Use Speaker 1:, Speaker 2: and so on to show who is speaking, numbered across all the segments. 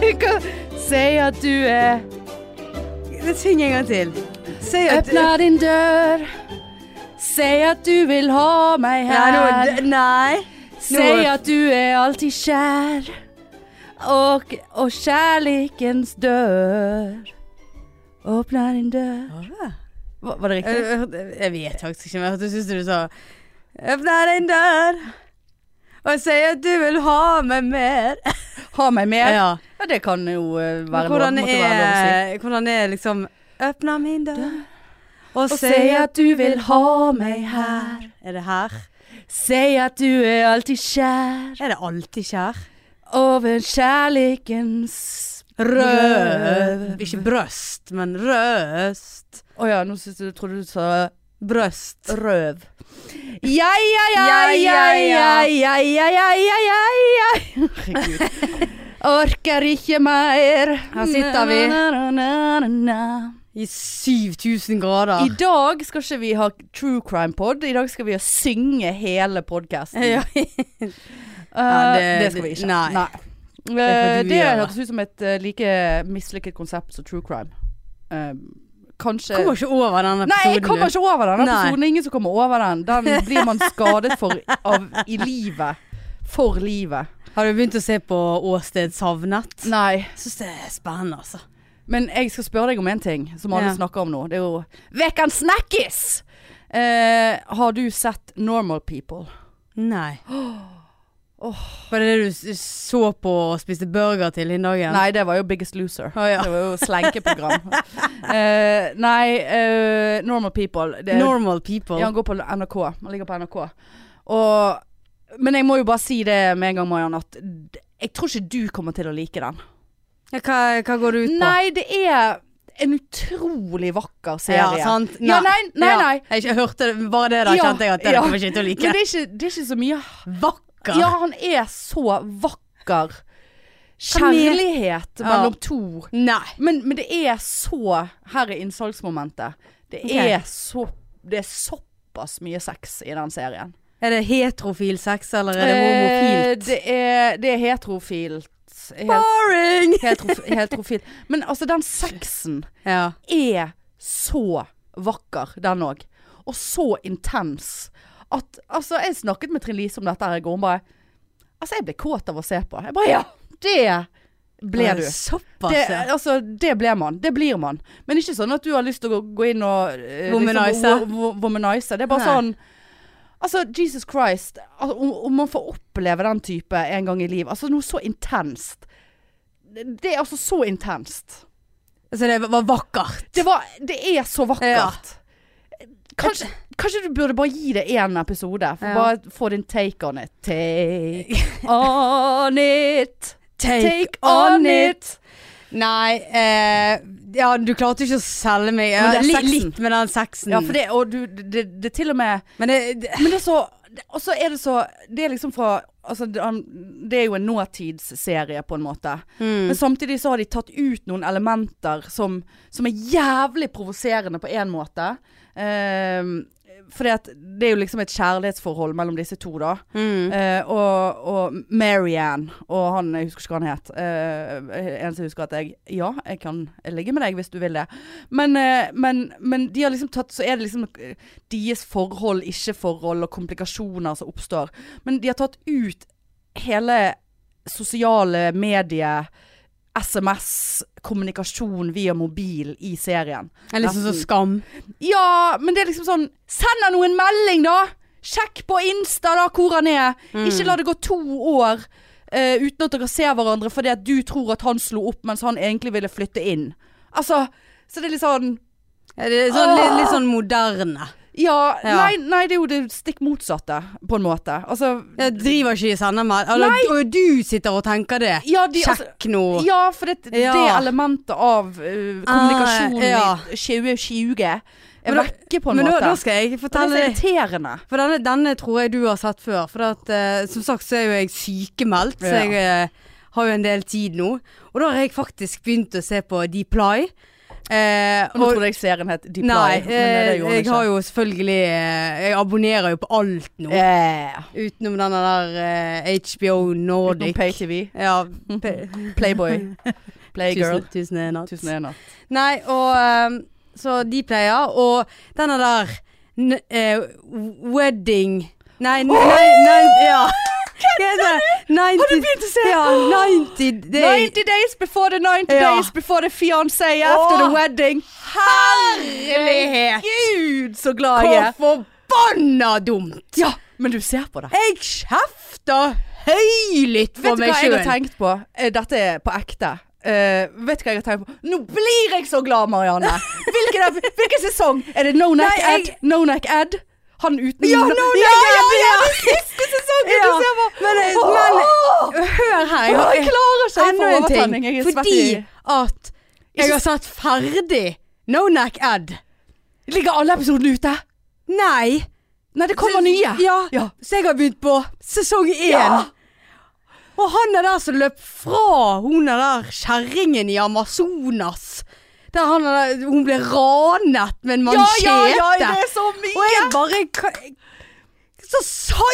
Speaker 1: Du kan si at du er
Speaker 2: Syng en gang til. Si at
Speaker 1: Åpner din dør. Si at du vil ha meg
Speaker 2: Nei, nå-
Speaker 1: her.
Speaker 2: d- Nei.
Speaker 1: Si at du er alltid kjær. Og, og kjærlikens dør åpner din dør. Var, var det
Speaker 2: Jeg,
Speaker 1: riktig?
Speaker 2: hørte- jeg vet faktisk ikke, men jeg hørte synes du sa Åpner en dør og sier at du vil ha meg mer.
Speaker 1: Ha meg med. Ja,
Speaker 2: Ja.
Speaker 1: det kan jo eh,
Speaker 2: Men
Speaker 1: være lov,
Speaker 2: hvordan
Speaker 1: måtte være lov å si.
Speaker 2: er, hvordan er liksom Åpner min dør og
Speaker 1: Og si at du vil ha meg her.
Speaker 2: Er det her?
Speaker 1: Si at du er alltid kjær.
Speaker 2: Er det alltid kjær?
Speaker 1: Over kjærlikens røv.
Speaker 2: Ikke brøst, men røst.
Speaker 1: Å ja, nå synes jeg du trodde du sa
Speaker 2: Brøst.
Speaker 1: røv. Ja, ja, ja,
Speaker 2: Ja,
Speaker 1: ja,
Speaker 2: ja,
Speaker 1: ja, ja, ja, ja, ja, ja, ja. Orker ikke mer.
Speaker 2: Her sitter vi.
Speaker 1: Na, na, na, na, na.
Speaker 2: I 7000 grader.
Speaker 1: I dag skal ikke vi ha true crime pod. I dag skal vi synge hele podkasten.
Speaker 2: Ja.
Speaker 1: Eh, det,
Speaker 2: det-
Speaker 1: skal vi ikke.
Speaker 2: nei.
Speaker 1: Eh,
Speaker 2: får du
Speaker 1: Det
Speaker 2: gjøre.
Speaker 1: hørtes ut som et eh, like mislykket konsept som true crime. Eh, kanskje
Speaker 2: Kommer ikke over den episoden.
Speaker 1: Nei, jeg
Speaker 2: du.
Speaker 1: kommer ikke over den
Speaker 2: Nei.
Speaker 1: episoden. Det er Ingen som kommer over den. Den blir man skadet for av, i livet. For livet.
Speaker 2: Har du begynt å se på Åsted savnet?
Speaker 1: Nei.
Speaker 2: Jeg syns det er spennende, altså.
Speaker 1: Men jeg skal spørre deg om en ting som alle
Speaker 2: Ja.
Speaker 1: snakker om nå. Det er jo Vekkens snakkis! Eh, har du sett Normal People?
Speaker 2: Nei. Var det det du s- så på og spiste burger til den dagen?
Speaker 1: Nei, det var jo Biggest Loser.
Speaker 2: Å, ja.
Speaker 1: Det var jo slenkeprogram. Eh, nei, eh, Normal People. Det,
Speaker 2: Normal people.
Speaker 1: ja, han går på NRK. Han ligger på NRK. Og, men jeg må jo bare si det med en gang, Mariann, at d- jeg tror ikke du kommer til å like den.
Speaker 2: Ja, hva, hva går det ut på?
Speaker 1: Nei, det er en utrolig vakker
Speaker 2: ja,
Speaker 1: serie.
Speaker 2: sant?
Speaker 1: Ja, nei, nei,
Speaker 2: Ja.
Speaker 1: nei.
Speaker 2: Jeg ikke hørte det, bare det da
Speaker 1: Ja,
Speaker 2: kjente jeg at det
Speaker 1: ja.
Speaker 2: kommer jeg ikke til å like.
Speaker 1: Men det er ikke, det er ikke så mye
Speaker 2: Vakker!
Speaker 1: Ja, han er så vakker.
Speaker 2: Hva mener-
Speaker 1: Kjærlighet
Speaker 2: Ja.
Speaker 1: mellom to.
Speaker 2: Nei.
Speaker 1: Men, men det er så Her er innsalgsmomentet. Det
Speaker 2: Ok.
Speaker 1: er så Det er såpass mye sex i den serien.
Speaker 2: Er det heterofil sex, eller er det homofilt?
Speaker 1: Eh, det, er, det er heterofilt. Helt,
Speaker 2: Boring!
Speaker 1: heterof, heterofil. Men altså, den sexen
Speaker 2: Ja.
Speaker 1: er så vakker, den òg. Og så intens. At altså, jeg snakket med Trine Lise om dette her i går. Hun bare Altså, jeg ble kåt av å se på. Jeg bare Ja, det ble du.
Speaker 2: Såpass,
Speaker 1: Det,
Speaker 2: ja.
Speaker 1: altså, det ble man. Det blir man. Men ikke sånn at du har lyst til å gå- gå inn og eh,
Speaker 2: Womanize.
Speaker 1: Liksom, wo- wo- womanize. Det er bare
Speaker 2: Nei.
Speaker 1: sånn Altså, Jesus Christ. Al om, om man får oppleve den type en gang i livet. Altså, noe så intenst. Det, det er altså så intenst.
Speaker 2: Så det var vakkert.
Speaker 1: Det, var, det er så vakkert. Kanskje, kanskje du burde bare gi det én episode? For
Speaker 2: Ja.
Speaker 1: Bare få din take on it. Take on it. Take on it.
Speaker 2: Nei, eh, ja, du klarte ikke å selge meg.
Speaker 1: Men
Speaker 2: Ja,
Speaker 1: det er
Speaker 2: li,
Speaker 1: sexen.
Speaker 2: litt med den sexen.
Speaker 1: Ja, for det, og du, det, det er til og med
Speaker 2: Men det, det,
Speaker 1: Men det er så det- Og så er det så Det er liksom fra Altså, det han- det er jo en nåtidsserie på en måte.
Speaker 2: Mm.
Speaker 1: Men samtidig så har de tatt ut noen elementer som, som er jævlig provoserende på én måte. Um, fordi at det er jo liksom et kjærlighetsforhold mellom disse to, da. Eh, og, og Marianne og han Jeg husker ikke hva han het. Eh, eneste jeg husker at jeg Ja, jeg kan ligge med deg hvis du vil det. Men, eh, men, men de har liksom tatt Så er det liksom eh, deres forhold, ikke-forhold og komplikasjoner som oppstår. Men de har tatt ut hele sosiale medier, SMS, kommunikasjon via mobil i serien.
Speaker 2: er liksom så skam.
Speaker 1: Ja, men det er liksom sånn Send han noen melding, da! Sjekk på Insta da hvor han er.
Speaker 2: Mm.
Speaker 1: Ikke la det gå to år eh, uten at dere ser hverandre fordi at du tror at han slo opp mens han egentlig ville flytte inn. Altså, så det er litt sånn
Speaker 2: Ja, Det er sånn, litt, litt sånn moderne.
Speaker 1: ja,
Speaker 2: Ja.
Speaker 1: Nei, nei, det er jo det stikk motsatte, på en måte. Altså
Speaker 2: Jeg driver ikke i sendemeld. Eller, og du sitter og tenker det.
Speaker 1: Ja, de- altså-
Speaker 2: Sjekk nå.
Speaker 1: Ja, for det,
Speaker 2: Ja.
Speaker 1: det elementet av eh, kommunikasjon
Speaker 2: Ah, ja.
Speaker 1: i 2020
Speaker 2: Men
Speaker 1: er
Speaker 2: da-
Speaker 1: vekke, på en
Speaker 2: Men
Speaker 1: måte.
Speaker 2: da, da skal jeg
Speaker 1: Og det er
Speaker 2: fortelle
Speaker 1: så
Speaker 2: deg.
Speaker 1: irriterende.
Speaker 2: For denne, denne tror jeg du har sett før. For at, eh, som sagt så er jo jeg sykemeldt, så
Speaker 1: Ja.
Speaker 2: jeg eh, har jo en del tid nå. Og da har jeg faktisk begynt å se på Deply. Eh,
Speaker 1: Og nå trodde jeg serien het Deep Lie,
Speaker 2: Nei,
Speaker 1: men det
Speaker 2: eh, jeg har jo selvfølgelig eh, Jeg abonnerer jo på alt nå.
Speaker 1: Yeah.
Speaker 2: Utenom denne der eh, HBO
Speaker 1: Utenom
Speaker 2: Nordic.
Speaker 1: PayTV.
Speaker 2: Ja, pe-
Speaker 1: Playboy. Playgirl.
Speaker 2: Tusen, tusen en natt.
Speaker 1: Tusen og en natt.
Speaker 2: Nei, og eh, Så de pleier. Og denne der n eh, Wedding Nei, nei, nei, ja. Hva heter det? 90 Har du begynt å se? Ja, 90 Day.
Speaker 1: 90 days before the 90
Speaker 2: Ja.
Speaker 1: days before the fiancé after the
Speaker 2: Åh.
Speaker 1: wedding.
Speaker 2: Herlighet!
Speaker 1: Gud, så glad jeg
Speaker 2: Hvor
Speaker 1: er.
Speaker 2: forbanna dumt!
Speaker 1: Ja, men du ser på det.
Speaker 2: Jeg kjefter høylytt for
Speaker 1: Vet du hva
Speaker 2: meg
Speaker 1: jeg har
Speaker 2: sjøl.
Speaker 1: tenkt på? Eh, Dette er på ekte. Eh, vet du hva jeg har tenkt på? Nå blir jeg så glad, Marianne! Hvilken, er- hvilken sesong? Er det No Neck
Speaker 2: Nei,
Speaker 1: Ed?
Speaker 2: jeg-
Speaker 1: No Neck Ed? Han uten
Speaker 2: Ja, No Neck
Speaker 1: ja, ja,
Speaker 2: Ed,
Speaker 1: ja, det er
Speaker 2: ja.
Speaker 1: Siste sesongen!
Speaker 2: Ja,
Speaker 1: Du ser på!
Speaker 2: men, eh,
Speaker 1: Åh!
Speaker 2: men, Hør her.
Speaker 1: Åh,
Speaker 2: Jeg
Speaker 1: jeg klarer ikke!
Speaker 2: har
Speaker 1: Jeg
Speaker 2: enda
Speaker 1: får
Speaker 2: en ting.
Speaker 1: overtenning. Jeg er svett
Speaker 2: Fordi
Speaker 1: i
Speaker 2: at jeg har satt ferdig No Neck Ed.
Speaker 1: Ligger alle episodene ute?
Speaker 2: Nei.
Speaker 1: Nei, det kommer nye.
Speaker 2: Ja.
Speaker 1: Ja.
Speaker 2: Så jeg har begynt på sesong én.
Speaker 1: Ja.
Speaker 2: Og han er der som løp fra hun er der kjerringen i Amazonas. Der han er der, hun ble ranet med en
Speaker 1: ja,
Speaker 2: mansjete.
Speaker 1: ja, ja, det er så mye!
Speaker 2: Og jeg bare ka- Så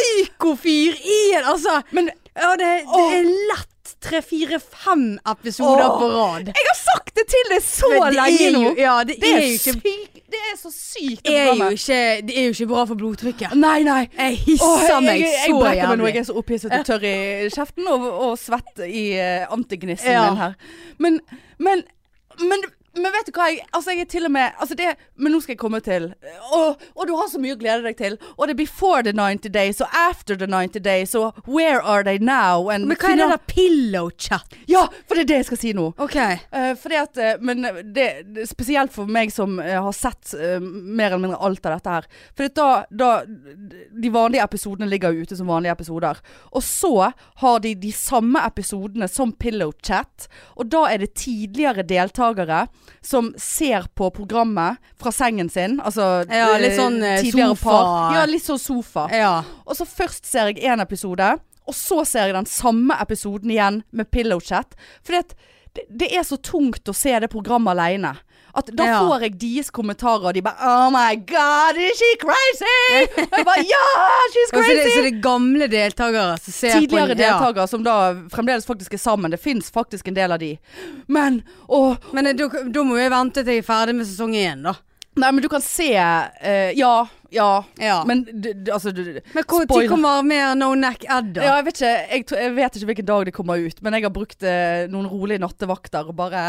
Speaker 2: psyko-fyr i en Altså
Speaker 1: Men
Speaker 2: ja, det, det
Speaker 1: Åh.
Speaker 2: er lett tre-fire-fem episoder
Speaker 1: Åh.
Speaker 2: på rad.
Speaker 1: jeg har sagt det til deg så
Speaker 2: Men det
Speaker 1: lenge
Speaker 2: er
Speaker 1: nå!
Speaker 2: jo- Ja, det,
Speaker 1: Det
Speaker 2: er,
Speaker 1: er,
Speaker 2: jo ikke,
Speaker 1: sykt. Det er så sykt.
Speaker 2: det,
Speaker 1: det
Speaker 2: er jo
Speaker 1: programmet.
Speaker 2: ikke, det er jo ikke bra for blodtrykket.
Speaker 1: Nei, nei.
Speaker 2: Jeg hisser
Speaker 1: Åh,
Speaker 2: meg
Speaker 1: jeg, jeg,
Speaker 2: så
Speaker 1: brekker meg nå,
Speaker 2: jævlig.
Speaker 1: jeg er så opphisset og tørr i kjeften og, og svett i uh, antignissen
Speaker 2: Ja.
Speaker 1: min her. Men, men, men, men vet du hva? Jeg, altså jeg er til og med altså det, Men nå skal jeg komme til og, og du har så mye å glede deg til. Og det er before the 90 days og after the 90 days og where are they now? And
Speaker 2: Men hva er det der pillow chat?
Speaker 1: Ja, for det er det jeg skal si nå.
Speaker 2: Ok.
Speaker 1: Eh, fordi at, eh, men det, det, spesielt for meg som eh, har sett eh, mer eller mindre alt av dette her. For da, da De vanlige episodene ligger jo ute som vanlige episoder. Og så har de de samme episodene som Pillow Chat. Og da er det tidligere deltakere som ser på programmet fra sengen sin. Altså
Speaker 2: Ja, litt
Speaker 1: eh,
Speaker 2: sånn, eh,
Speaker 1: tidligere
Speaker 2: sofa.
Speaker 1: par. Ja, litt sånn sofa.
Speaker 2: Ja.
Speaker 1: Og så først ser jeg en episode, og så ser jeg den samme episoden igjen med pillow chat. Fordi at det, det er så tungt å se det programmet alene. At da
Speaker 2: Ja.
Speaker 1: får jeg deres kommentarer, og de bare Oh my god, is she crazy? Og jeg bare Ja, she's
Speaker 2: Og så er det, så
Speaker 1: crazy!
Speaker 2: er det gamle deltakere som ser
Speaker 1: Tidligere
Speaker 2: på en- ja.
Speaker 1: deltakere som da fremdeles faktisk er sammen. Det fins faktisk en del av de. Men å,
Speaker 2: Men eh, da da må jeg vente til jeg er ferdig med sesong én, da.
Speaker 1: Nei, men du kan se eh, Ja, ja.
Speaker 2: Ja. Men,
Speaker 1: Men d- d- altså du,
Speaker 2: hvor
Speaker 1: spoiler.
Speaker 2: tid kommer mer No Neck Ed, da?
Speaker 1: Ja, jeg, vet ikke, jeg, tror- jeg vet ikke hvilken dag det kommer ut, men jeg har brukt eh, noen rolige nattevakter og bare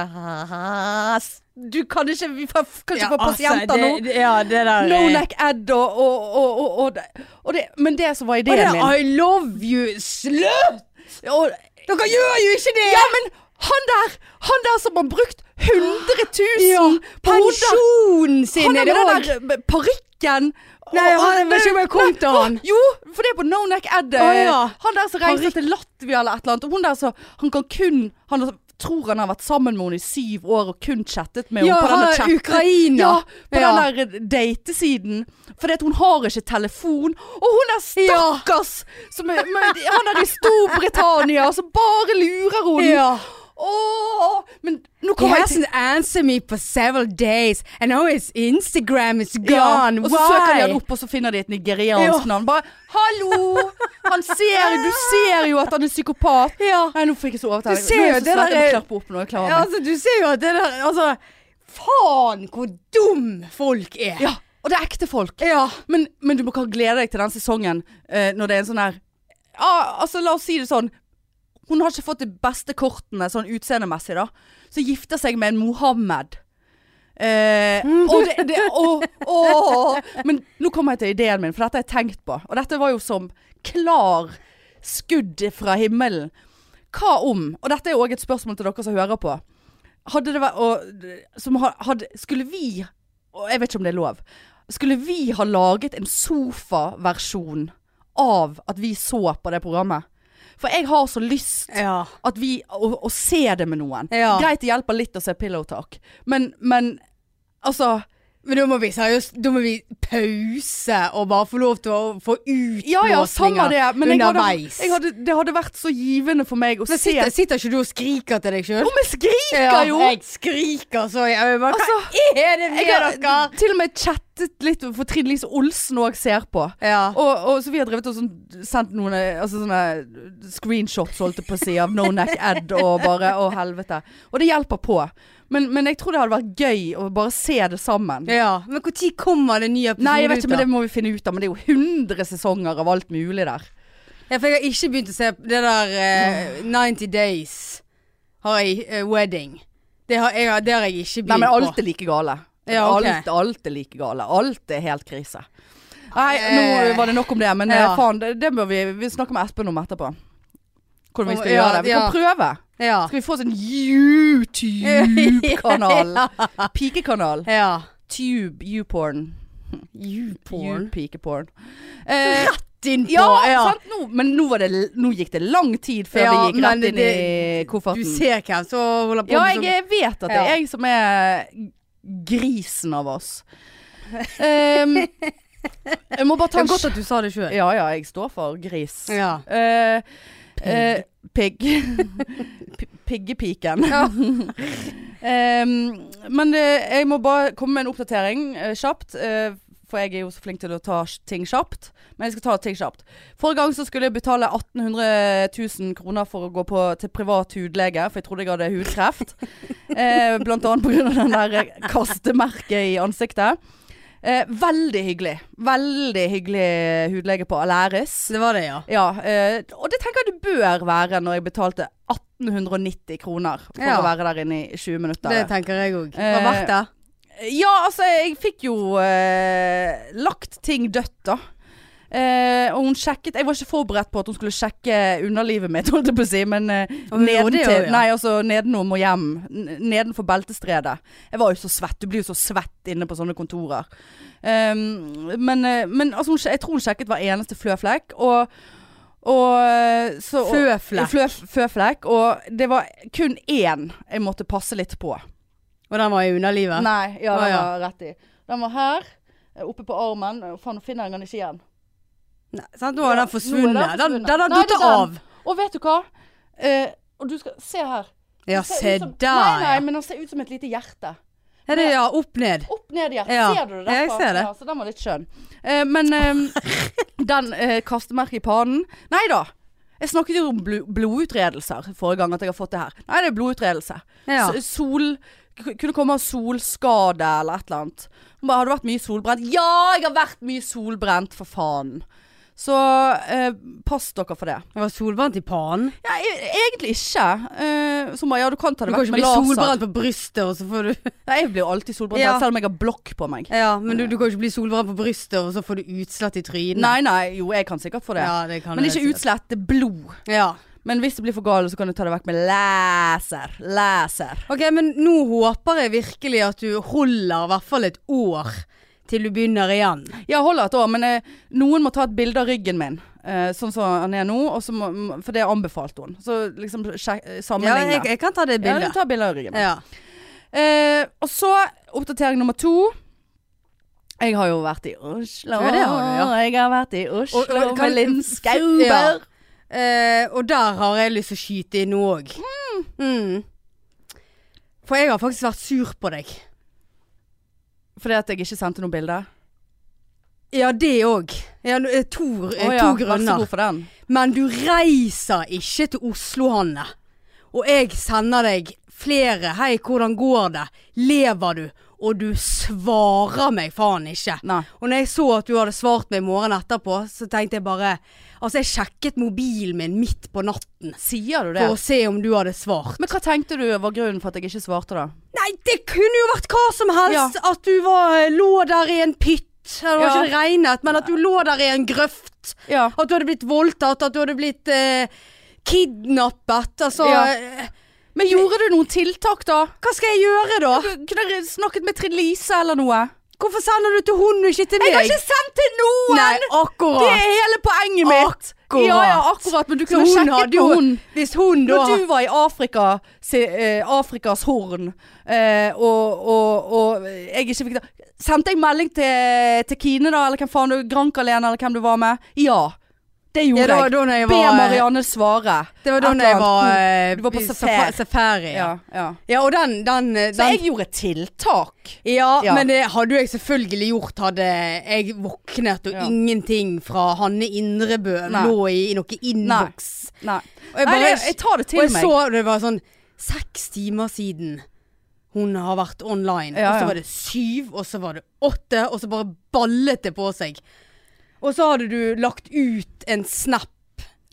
Speaker 1: Du kan ikke Vi kan kan ikke få pasienter
Speaker 2: altså, det,
Speaker 1: nå!
Speaker 2: det- Ja, det der
Speaker 1: No
Speaker 2: eh,
Speaker 1: neck ad og, og, og, og, og, det- og det, Men det som var
Speaker 2: Og det
Speaker 1: ideen min
Speaker 2: I love you! Slutt!
Speaker 1: og,
Speaker 2: Dere gjør jo ikke det!
Speaker 1: Ja, men han der! Han der som har brukt 100 000
Speaker 2: Ja,
Speaker 1: på hodet!
Speaker 2: Pensjonen
Speaker 1: Han
Speaker 2: sin
Speaker 1: der
Speaker 2: er det
Speaker 1: med
Speaker 2: òg.
Speaker 1: den der eh, parykken
Speaker 2: Nei, han- jeg vet ikke om jeg kom til han.
Speaker 1: Jo, for det er på No Neck Ed. eh,
Speaker 2: Å, ja.
Speaker 1: Han der som reiser
Speaker 2: Parykk.
Speaker 1: til Latvia eller et eller annet. Og hun der som Han kan kun Han tror han har vært sammen med henne i syv år og kun chattet med
Speaker 2: Ja,
Speaker 1: henne. på
Speaker 2: han
Speaker 1: denne
Speaker 2: er
Speaker 1: chatte-
Speaker 2: Ukraina.
Speaker 1: Ja, på
Speaker 2: Ja.
Speaker 1: den der eh, datesiden. Fordi at hun har ikke telefon. Og hun er stakkars! Som er, men, han er i Storbritannia, og så bare lurer hun.
Speaker 2: Ja.
Speaker 1: Åh, men nå
Speaker 2: He
Speaker 1: kommer jeg til
Speaker 2: hasn't answered me for several days, and now his Instagram is gone.
Speaker 1: og så søker de han
Speaker 2: Why?
Speaker 1: opp, og så finner de et nigeriansk
Speaker 2: Ja.
Speaker 1: navn. Bare 'hallo'! Han ser, du ser jo at han er psykopat.
Speaker 2: Ja.
Speaker 1: Nei, nå fikk jeg så overtenning.
Speaker 2: Du ser
Speaker 1: Nå er
Speaker 2: jo
Speaker 1: jeg så
Speaker 2: det
Speaker 1: svett,
Speaker 2: der
Speaker 1: Jeg må
Speaker 2: er-
Speaker 1: klappe opp nå. Jeg klarer
Speaker 2: Ja,
Speaker 1: meg.
Speaker 2: altså, du ser jo at det der Altså, faen hvor dum folk er.
Speaker 1: Ja, og det er ekte folk.
Speaker 2: Ja.
Speaker 1: Men, men du må kan glede deg til den sesongen eh, når det er en sånn her Ja, altså la oss si det sånn. Hun har ikke fått de beste kortene sånn utseendemessig, da. Så gifter seg med en Mohammed. Eh, og det, det å, å. Men nå kommer jeg til ideen min, for dette har jeg tenkt på. Og dette var jo som klar skudd fra himmelen. Hva om, og dette er jo òg et spørsmål til dere som hører på. Hadde det vært og, som ha- hadde, Skulle vi og Jeg vet ikke om det er lov. Skulle vi ha laget en sofaversjon av at vi så på det programmet? For jeg har så lyst
Speaker 2: ja.
Speaker 1: at vi å, å se det med noen.
Speaker 2: Ja.
Speaker 1: Greit det hjelper litt å se Pillow Talk, men, men altså
Speaker 2: Men da må vi seriøst Da må vi pause og bare få lov til å få
Speaker 1: Ja ja, samme
Speaker 2: utblåsninger
Speaker 1: det, men jeg hadde,
Speaker 2: underveis.
Speaker 1: jeg hadde, det hadde vært så givende for meg å
Speaker 2: Men
Speaker 1: se
Speaker 2: sitter, sitter ikke du og skriker til deg sjøl?
Speaker 1: Jo, men skriker jo!
Speaker 2: jeg skriker så jeg, bare, Hva
Speaker 1: Altså,
Speaker 2: er det med
Speaker 1: Jeg
Speaker 2: dere?
Speaker 1: har til og med chattet litt for Trine Lise Olsen òg ser på.
Speaker 2: Ja.
Speaker 1: Og, og så vi har drevet og sånn, sendt noen eh, altså sånne screenshots holdt jeg på å si, av No Neck Ed og bare å helvete. Og det hjelper på. Men, men jeg tror det hadde vært gøy å bare se det sammen.
Speaker 2: ja. Men når kommer det nye episoder?
Speaker 1: Nei, jeg vet ikke, men det må vi finne ut av. Men det er jo 100 sesonger av alt mulig der.
Speaker 2: Ja, for jeg har ikke begynt å se på det der eh, 90 Days har jeg, eh, Wedding. Det har jeg, det har jeg
Speaker 1: Nei,
Speaker 2: ikke begynt
Speaker 1: men alt
Speaker 2: på.
Speaker 1: er like gale.
Speaker 2: Ja, ok.
Speaker 1: alt, alt er like gale. Alt er helt krise. Nei,
Speaker 2: Eh,
Speaker 1: nå var det nok om det, men eh,
Speaker 2: ja.
Speaker 1: faen, det, det må vi, vi snakke med Espen om etterpå. Hvordan vi skal
Speaker 2: Ja,
Speaker 1: gjøre det. Vi
Speaker 2: ja.
Speaker 1: kan prøve.
Speaker 2: Ja.
Speaker 1: Skal vi få oss en YouTube-kanal? Pikekanal.
Speaker 2: ja.
Speaker 1: Tube, YouPorn.
Speaker 2: YouPorn.
Speaker 1: YouPikeporn. Eh,
Speaker 2: Din på.
Speaker 1: ja, sant? Nå, men nå, var det, nå gikk det lang tid før
Speaker 2: Ja,
Speaker 1: vi gikk
Speaker 2: men
Speaker 1: rett inn
Speaker 2: det-
Speaker 1: i kofferten.
Speaker 2: Du ser hvem som holder på
Speaker 1: Ja,
Speaker 2: med
Speaker 1: jeg,
Speaker 2: sånn-
Speaker 1: jeg vet at det er
Speaker 2: Ja.
Speaker 1: jeg som er grisen av oss. Ehm, jeg må bare ta
Speaker 2: Det
Speaker 1: en
Speaker 2: er godt
Speaker 1: kjapp
Speaker 2: at du sa det sjøl.
Speaker 1: Ja ja, jeg står for gris.
Speaker 2: Ja.
Speaker 1: Eh, eh, pigg. P- Piggepiken. Ehm, men eh, jeg må bare komme med en oppdatering eh, kjapt. eh, for jeg er jo så flink til å ta s- ting kjapt. Men jeg skal ta ting kjapt. Forrige gang så skulle jeg betale 1800 000 kroner for å gå på, til privat hudlege, for jeg trodde jeg hadde hudkreft. eh, blant annet pga. den der eh, kastemerket i ansiktet. Eh, veldig hyggelig. Veldig hyggelig hudlege på Aleris.
Speaker 2: Det var det, ja.
Speaker 1: Ja, eh, og det tenker jeg det bør være når jeg betalte 1890 kroner for
Speaker 2: Ja.
Speaker 1: å være der inne i 20 minutter.
Speaker 2: Det tenker jeg òg.
Speaker 1: Eh,
Speaker 2: Var verdt det.
Speaker 1: Ja, altså, jeg fikk jo eh, lagt ting dødt, da. Eh, og hun sjekket Jeg var ikke forberedt på at hun skulle sjekke underlivet mitt, holdt jeg på å si, men eh,
Speaker 2: Og hun gjorde
Speaker 1: nedentil
Speaker 2: det jo, ja.
Speaker 1: Nei, altså nedenom og hjem. N- Nedenfor beltestredet. Jeg var jo så svett. Du blir jo så svett inne på sånne kontorer. Um, men eh, men altså, hun, sj- jeg tror hun sjekket hver eneste fløflekk, og, og eh, så, og-
Speaker 2: Føflekk.
Speaker 1: Fløf, føflekk. Og det var kun én jeg måtte passe litt på.
Speaker 2: Og den var i underlivet.
Speaker 1: Nei, ja,
Speaker 2: Å,
Speaker 1: den
Speaker 2: ja.
Speaker 1: var rett i. Den var her, eh, oppe på armen. Eh, Faen, nå finner jeg den ikke igjen.
Speaker 2: Nei, sant? Nå har
Speaker 1: Ja,
Speaker 2: den forsvunnet.
Speaker 1: nå er den forsvunnet.
Speaker 2: Den den har
Speaker 1: Nei, det sånn. er
Speaker 2: datt
Speaker 1: den.
Speaker 2: av.
Speaker 1: Og vet du hva? Eh, og du skal Se her. Den
Speaker 2: Ja,
Speaker 1: ser ut
Speaker 2: se
Speaker 1: som- Nei,
Speaker 2: der.
Speaker 1: nei,
Speaker 2: ja.
Speaker 1: men den ser ut som et lite hjerte.
Speaker 2: Er det ja, opp ned?
Speaker 1: Opp ned i hjertet.
Speaker 2: Ja,
Speaker 1: Ser du det
Speaker 2: jeg
Speaker 1: derfra?
Speaker 2: ser det.
Speaker 1: Ja, så den var litt skjønn. Eh, men eh, den eh, kastemerket i panen Nei da. Jeg snakket jo om bl blodutredelser forrige gang at jeg har fått det her. Nei, det er blodutredelse.
Speaker 2: Ja.
Speaker 1: S- Sol k- Kunne komme av solskade eller et eller annet. Hun bare 'Har du vært mye solbrent?' Ja, jeg har vært mye solbrent, for faen. Så eh, pass dere for det.
Speaker 2: Det var solbrent i pannen.
Speaker 1: Ja, e egentlig ikke. Eh, så hun bare 'Ja, du kan ta
Speaker 2: Du
Speaker 1: det
Speaker 2: kan
Speaker 1: vekk
Speaker 2: ikke
Speaker 1: med
Speaker 2: bli
Speaker 1: laser'.
Speaker 2: solbrent på brystet, og så får du
Speaker 1: Nei, jeg blir jo alltid solbrent,
Speaker 2: Ja.
Speaker 1: selv om jeg har blokk på meg.
Speaker 2: Ja, men du, du kan ikke bli solbrent på brystet, og så får du utslett i trynet.
Speaker 1: Nei, nei, jo, jeg kan sikkert få det.
Speaker 2: Ja, det kan
Speaker 1: Men
Speaker 2: du
Speaker 1: ikke
Speaker 2: helt
Speaker 1: utslett, det er blod.
Speaker 2: sikkert. Ja.
Speaker 1: Men hvis det blir for galt, så kan du ta det vekk med laser. Laser.
Speaker 2: Ok, men nå håper jeg virkelig at du holder i hvert fall et år til du begynner igjen.
Speaker 1: Ja, holder et år, men eh, noen må ta et bilde av ryggen min. Eh, sånn som han er nå, og så må, m- for det anbefalte hun. Så liksom sjek- eh,
Speaker 2: Ja,
Speaker 1: sammenligne.
Speaker 2: jeg, jeg kan ta det
Speaker 1: Ja, du
Speaker 2: bildet.
Speaker 1: tar bilde av ryggen min.
Speaker 2: Ja.
Speaker 1: Eh, og så oppdatering nummer to. Jeg har jo vært i Oslo.
Speaker 2: Ja, det har du, ja.
Speaker 1: Jeg har vært i Oslo
Speaker 2: Og- og- kan-
Speaker 1: med Linn
Speaker 2: Ja.
Speaker 1: Skauber.
Speaker 2: Eh, og der har jeg lyst til å skyte inn òg. Mm. For jeg har faktisk vært sur på deg.
Speaker 1: Fordi at jeg ikke sendte noe bilde.
Speaker 2: Ja, det òg. Ja, nå- eh, to, eh,
Speaker 1: Å ja, Vær
Speaker 2: to
Speaker 1: så
Speaker 2: grunner.
Speaker 1: god for den.
Speaker 2: Men du reiser ikke til Oslo, Hanne. Og jeg sender deg flere 'Hei, hvordan går det? Lever du?' Og du svarer meg faen ikke.
Speaker 1: Nei.
Speaker 2: Og når jeg så at du hadde svart meg morgenen etterpå, så tenkte jeg bare Altså, jeg sjekket mobilen min midt på natten
Speaker 1: Sier du det?
Speaker 2: for å se om du hadde svart.
Speaker 1: Men hva tenkte du var grunnen for at jeg ikke svarte da?
Speaker 2: Nei, det kunne jo vært hva som helst. At du var, eh, lå der i en pytt. Det var
Speaker 1: Ja.
Speaker 2: ikke det regnet, men at du lå der i en grøft.
Speaker 1: Ja.
Speaker 2: At du hadde blitt voldtatt, at du hadde blitt eh, kidnappet. Altså
Speaker 1: Ja.
Speaker 2: eh,
Speaker 1: Men gjorde du noen tiltak da?
Speaker 2: Hva skal jeg gjøre da?
Speaker 1: Kunne dere snakket med Trine Lise eller noe?
Speaker 2: Hvorfor sender du til hun og ikke til meg?
Speaker 1: sendt til noen!
Speaker 2: Nei, akkurat.
Speaker 1: hele poenget
Speaker 2: mitt. akkurat.
Speaker 1: Ja, ja, akkurat, men du
Speaker 2: Så
Speaker 1: kunne
Speaker 2: hun
Speaker 1: sjekket
Speaker 2: hadde
Speaker 1: med
Speaker 2: jo
Speaker 1: hun.
Speaker 2: Hvis hun da
Speaker 1: Når du var i Afrika, se, eh, Afrikas horn, eh, og, og, og jeg ikke fikk det Sendte jeg melding til, til Kine, da, eller hvem faen du Grankalene, eller hvem du var med? Ja. Det
Speaker 2: ja,
Speaker 1: gjorde
Speaker 2: det var
Speaker 1: jeg.
Speaker 2: da når jeg
Speaker 1: Be
Speaker 2: var eh,
Speaker 1: Marianne svare.
Speaker 2: Det var da
Speaker 1: et
Speaker 2: når jeg
Speaker 1: eller
Speaker 2: var eh,
Speaker 1: Du var på
Speaker 2: i
Speaker 1: safari.
Speaker 2: safa- safari ja.
Speaker 1: Ja, ja.
Speaker 2: ja, og den, den, eh,
Speaker 1: Så
Speaker 2: den
Speaker 1: jeg gjorde tiltak.
Speaker 2: ja,
Speaker 1: Ja.
Speaker 2: men det hadde jeg selvfølgelig gjort hadde jeg våknet og
Speaker 1: Ja.
Speaker 2: ingenting fra Hanne Indrebø
Speaker 1: Nei.
Speaker 2: lå i, i noe innboks.
Speaker 1: Nei,
Speaker 2: Og
Speaker 1: Nei
Speaker 2: jeg bare
Speaker 1: det, jeg tar det
Speaker 2: og
Speaker 1: til
Speaker 2: jeg
Speaker 1: meg.
Speaker 2: så det var sånn seks timer siden hun har vært online.
Speaker 1: Ja,
Speaker 2: og så
Speaker 1: ja.
Speaker 2: var det syv, og så var det åtte, og så bare ballet det på seg. Og så hadde du lagt ut en snap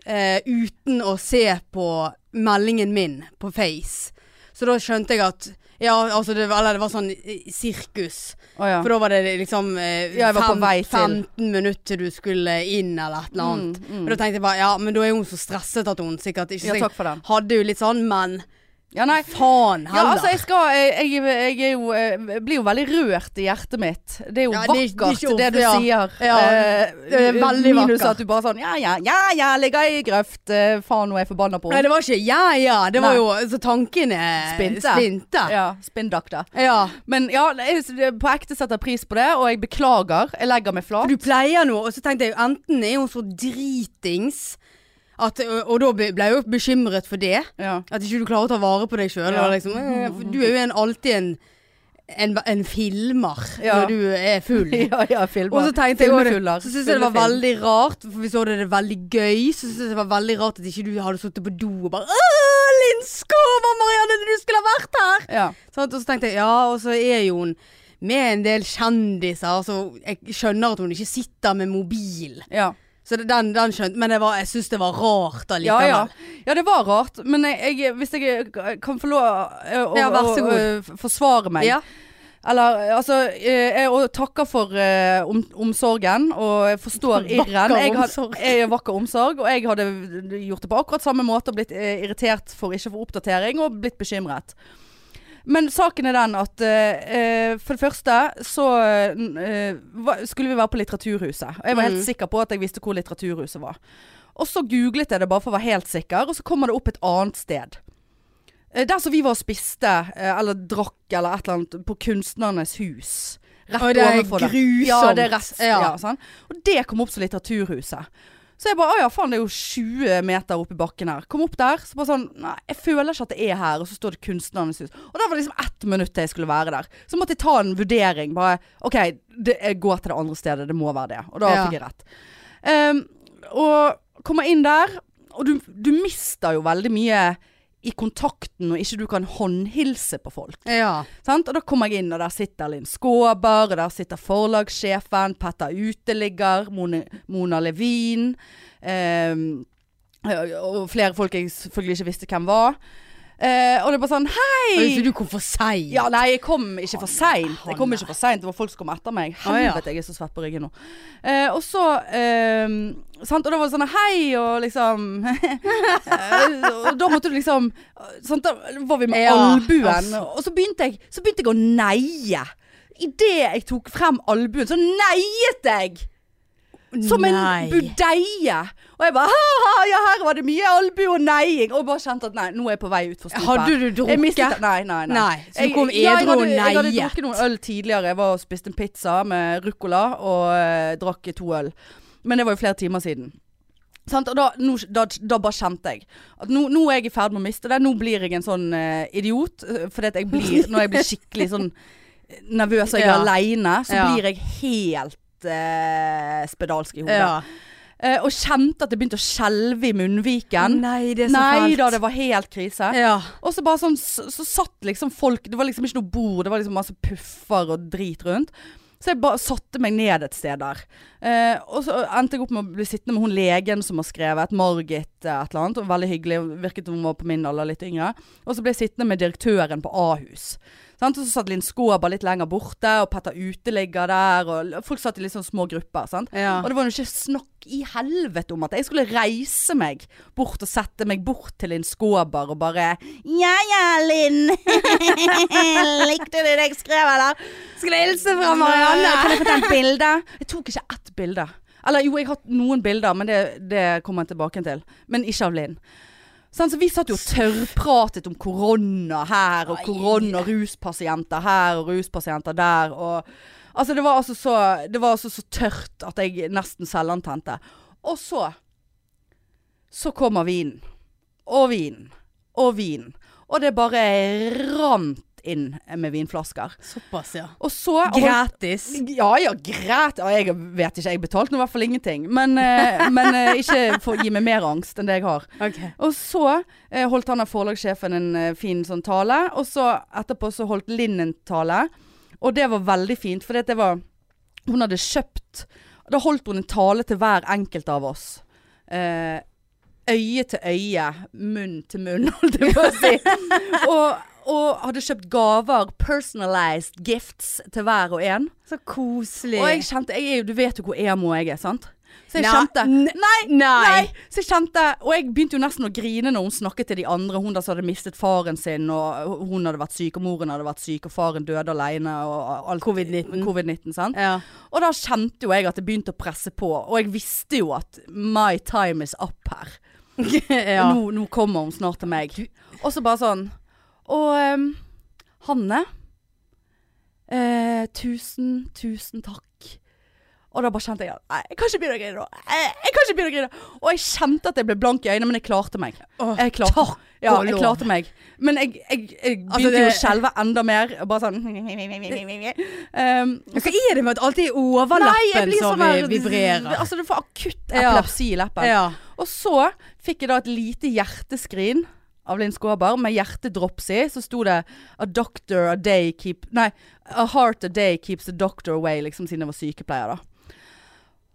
Speaker 2: eh, uten å se på meldingen min på Face. Så da skjønte jeg at Ja, altså det, var- eller det var sånn eh, sirkus.
Speaker 1: Å, ja.
Speaker 2: For da var det liksom eh,
Speaker 1: Ja, jeg var på
Speaker 2: fem,
Speaker 1: vei til.
Speaker 2: 15 minutter til du skulle inn eller et eller annet.
Speaker 1: Mm, mm.
Speaker 2: Og da tenkte jeg bare ja, men da er hun så stresset at hun sikkert ikke
Speaker 1: ja,
Speaker 2: så jeg
Speaker 1: takk for den.
Speaker 2: Hadde jo litt sånn, men
Speaker 1: sånn. Ja, nei.
Speaker 2: faen heller.
Speaker 1: Ja, altså jeg skal Jeg, jeg, jeg er jo, eh, blir jo veldig rørt i hjertet mitt. Det er jo
Speaker 2: Ja, det er ikke-
Speaker 1: vakkert,
Speaker 2: det er
Speaker 1: det, du
Speaker 2: ikke ofte, ja.
Speaker 1: sier.
Speaker 2: Ja,
Speaker 1: Eh,
Speaker 2: det er veldig
Speaker 1: Minus
Speaker 2: vakkert.
Speaker 1: at du bare sånn Ja, ja, ja, ja, ligger i grøft. eh, Faen, nå er jeg forbanna på
Speaker 2: Nei,
Speaker 1: henne.
Speaker 2: det var ikke ja, ja. Det var
Speaker 1: Nei.
Speaker 2: jo Så tankene
Speaker 1: Spinte.
Speaker 2: spinte. Ja.
Speaker 1: Ja, spinndakter. Men ja, jeg, på ekte setter jeg pris på det, og jeg beklager. Jeg legger meg
Speaker 2: For
Speaker 1: flat.
Speaker 2: du pleier noe, og så tenkte jeg enten er hun så dritings at, og, og da ble jeg jo bekymret for det.
Speaker 1: Ja.
Speaker 2: At ikke du klarer å ta vare på deg sjøl.
Speaker 1: Ja.
Speaker 2: Liksom, eh, for du er jo en, alltid en, en, en filmer
Speaker 1: Ja.
Speaker 2: når du er full.
Speaker 1: ja, ja, filmer.
Speaker 2: Og så tenkte jeg også det,
Speaker 1: Filmefuller.
Speaker 2: så syntes jeg det var
Speaker 1: Fyllefilm.
Speaker 2: veldig rart, for vi så det, det er veldig gøy, så syntes jeg det var veldig rart at ikke du hadde sittet på do og bare Åh, Lindskog, hva Marianne, du skulle ha vært her!
Speaker 1: ja.
Speaker 2: Sant? og så tenkte jeg, ja, og så er jo hun med en del kjendiser, så jeg skjønner at hun ikke sitter med mobil.
Speaker 1: ja.
Speaker 2: Så det- den, den skjønte, men det var, jeg syns det var rart
Speaker 1: Ja,
Speaker 2: allikevel.
Speaker 1: ja. ja, det var rart. Men jeg, jeg, hvis jeg kan få lov eh, å,
Speaker 2: Ja, vær
Speaker 1: å,
Speaker 2: så god.
Speaker 1: eh, forsvare meg.
Speaker 2: Ja.
Speaker 1: Eller eh, altså eh, Jeg og takker for eh, om, omsorgen, og jeg forstår
Speaker 2: Vakker
Speaker 1: irren. Jeg had-
Speaker 2: omsorg.
Speaker 1: eh, vakker omsorg. Og jeg hadde gjort det på akkurat samme måte og blitt eh, irritert for ikke å få oppdatering, og blitt bekymret. Men saken er den at eh, eh, for det første så eh, va- skulle vi være på Litteraturhuset. Og jeg var
Speaker 2: Mm.
Speaker 1: helt sikker på at jeg visste hvor Litteraturhuset var. Og så googlet jeg det bare for å være helt sikker, og så kommer det opp et annet sted. Eh, Der som vi var og spiste, eh, eller drakk eller et eller annet, på Kunstnernes hus. Rett
Speaker 2: Og det er
Speaker 1: overfor der.
Speaker 2: grusomt.
Speaker 1: Ja, det er rett. Ja.
Speaker 2: Ja.
Speaker 1: sånn. Og det kom opp som Litteraturhuset. Så jeg bare, å ja faen, det er jo 20 meter oppe i bakken her. Kom opp der, så bare sånn, nei, jeg føler ikke at det er her, og så står det Kunstnernes hus. Og der var det liksom ett minutt til jeg skulle være der. Så måtte jeg ta en vurdering, bare, ok, det, jeg går til det andre stedet, det må være det. Og da
Speaker 2: Ja.
Speaker 1: fikk jeg rett. Ehm, og kommer inn der, og du, du mister jo veldig mye i kontakten, og ikke du kan håndhilse på folk.
Speaker 2: Ja.
Speaker 1: Sant? Og da kommer jeg inn, og der sitter Linn Skåber, og der sitter forlagssjefen, Petter Uteligger, Mone, Mona Levin, ehm, og flere folk jeg selvfølgelig ikke visste hvem var. Eh, og det er bare sånn Hei!
Speaker 2: Og så du kom for seint.
Speaker 1: Ja, nei, jeg kom ikke for seint. Jeg kom
Speaker 2: Hanne.
Speaker 1: ikke for sent. Det var folk som kom etter meg.
Speaker 2: Å, ja.
Speaker 1: Helvete, jeg er så svett på ryggen nå. Eh, og så eh, sant? Og da var det sånn hei, og liksom Eh, Og da måtte du liksom sant? Da var vi med
Speaker 2: Ja,
Speaker 1: albuen,
Speaker 2: altså.
Speaker 1: og så begynte jeg, så begynte jeg å neie. Idet jeg tok frem albuen, så neiet jeg! Som en
Speaker 2: Nei.
Speaker 1: budeie. Og jeg bare ha-ha, ja her var det mye albu og neiing. Og bare kjente at nei, nå er jeg på vei utfor stupet.
Speaker 2: Hadde du drukket?
Speaker 1: Jeg mistet- Nei, nei, nei.
Speaker 2: Nei, så du
Speaker 1: Jeg-
Speaker 2: kom
Speaker 1: ja, jeg
Speaker 2: edru og
Speaker 1: hadde- Jeg hadde
Speaker 2: neiet.
Speaker 1: drukket noen øl tidligere. Jeg var og spiste en pizza med ruccola og eh, drakk to øl. Men det var jo flere timer siden. Sant? Og da, nå, da, da bare kjente jeg at nå, nå er jeg i ferd med å miste det. Nå blir jeg en sånn eh, idiot. eh, Fordi at jeg blir, når jeg blir skikkelig sånn nervøs og jeg er
Speaker 2: Ja.
Speaker 1: aleine, så
Speaker 2: Ja.
Speaker 1: blir jeg helt eh, spedalsk i hodet.
Speaker 2: Ja.
Speaker 1: Eh, og kjente at det begynte å skjelve i munnviken.
Speaker 2: Nei, det er så
Speaker 1: Nei
Speaker 2: fælt.
Speaker 1: da, det var helt krise.
Speaker 2: Ja.
Speaker 1: Og så bare sånn, så, så satt liksom folk Det var liksom ikke noe bord, det var liksom masse puffer og drit rundt. Så jeg bare satte meg ned et sted der. Eh, og så endte jeg opp med å bli sittende med hun legen som har skrevet, Margit eh, et eller annet. Og veldig hyggelig, virket som hun var på min alder, litt yngre. Og så ble jeg sittende med direktøren på Ahus. Sant? Og så satt Linn Skåber litt lenger borte, og Petter Uteligger der. Og folk satt i litt sånn små grupper. Sant?
Speaker 2: Ja.
Speaker 1: Og det var jo ikke snakk i helvete om at jeg skulle reise meg bort og sette meg bort til Linn Skåber og bare Ja ja, Linn. Likte du det jeg skrev, eller?
Speaker 2: Skulle hilse
Speaker 1: Kan jeg få ta et bilde? Jeg tok ikke ett bilde. Eller jo, jeg har hatt noen bilder, men det, det kommer jeg tilbake til. Men ikke av Linn. Sånn, så vi satt jo og tørrpratet om korona her, og
Speaker 2: Nei.
Speaker 1: korona, ruspasienter her og ruspasienter der. Og, altså, det var altså så, det var altså så tørt at jeg nesten selvantente. Og så Så kommer vinen. Og vinen. Og vinen. Og det bare rant inn med vinflasker.
Speaker 2: Såpass, ja.
Speaker 1: Og så
Speaker 2: Gratis.
Speaker 1: ja ja, greit. Ja, jeg vet ikke, jeg betalte nå i hvert fall ingenting. Men, eh, men eh, ikke for å gi meg mer angst enn det jeg har.
Speaker 2: Ok.
Speaker 1: Og så eh, holdt han av forlagssjefen en eh, fin sånn tale, og så etterpå så holdt Linn en tale. Og det var veldig fint, for det var Hun hadde kjøpt Da holdt hun en tale til hver enkelt av oss. Eh, øye til øye, munn til munn, holdt jeg på å si. og, og hadde kjøpt gaver, personalized gifts, til hver og en.
Speaker 2: Så koselig.
Speaker 1: Og jeg kjente jeg, er jo- Du vet jo hvor emo jeg er, sant? Så jeg
Speaker 2: Nei,
Speaker 1: kjente
Speaker 2: ne-
Speaker 1: Nei!
Speaker 2: Nei.
Speaker 1: Nei! Så jeg kjente Og jeg begynte jo nesten å grine når hun snakket til de andre. Hun der som hadde mistet faren sin, og hun hadde vært syk, og moren hadde vært syk, og faren døde alene, og alt
Speaker 2: Covid-19.
Speaker 1: COVID-19, sant?
Speaker 2: Ja.
Speaker 1: Og da kjente jo jeg at det begynte å presse på, og jeg visste jo at my time is up her.
Speaker 2: ja.
Speaker 1: Nå, nå kommer hun snart til meg. Og så bare sånn Og ehm, Hanne. Eh, tusen, tusen takk. Og da bare kjente jeg at Nei, jeg kan ikke begynne å grine nå. Jeg, jeg kan ikke begynne å grine. Og jeg kjente at jeg ble blank i øynene, men jeg klarte meg.
Speaker 2: Åh,
Speaker 1: Jeg klarte, ja,
Speaker 2: og
Speaker 1: jeg
Speaker 2: lov.
Speaker 1: klarte meg. Men jeg, jeg, jeg begynte
Speaker 2: Altså,
Speaker 1: jo å
Speaker 2: det-
Speaker 1: skjelve enda mer. og Bare sånn um,
Speaker 2: Hva er det med at alltid overlappen som
Speaker 1: der-
Speaker 2: vibrerer?
Speaker 1: Altså du får akutt
Speaker 2: Ja.
Speaker 1: epilepsi i leppen.
Speaker 2: Ja.
Speaker 1: Og så fikk jeg da et lite hjerteskrin av Linn Skåber med hjertedrops i. Så sto det 'A doctor a day keep Nei, 'A heart a day keeps the doctor away', liksom siden jeg var sykepleier, da.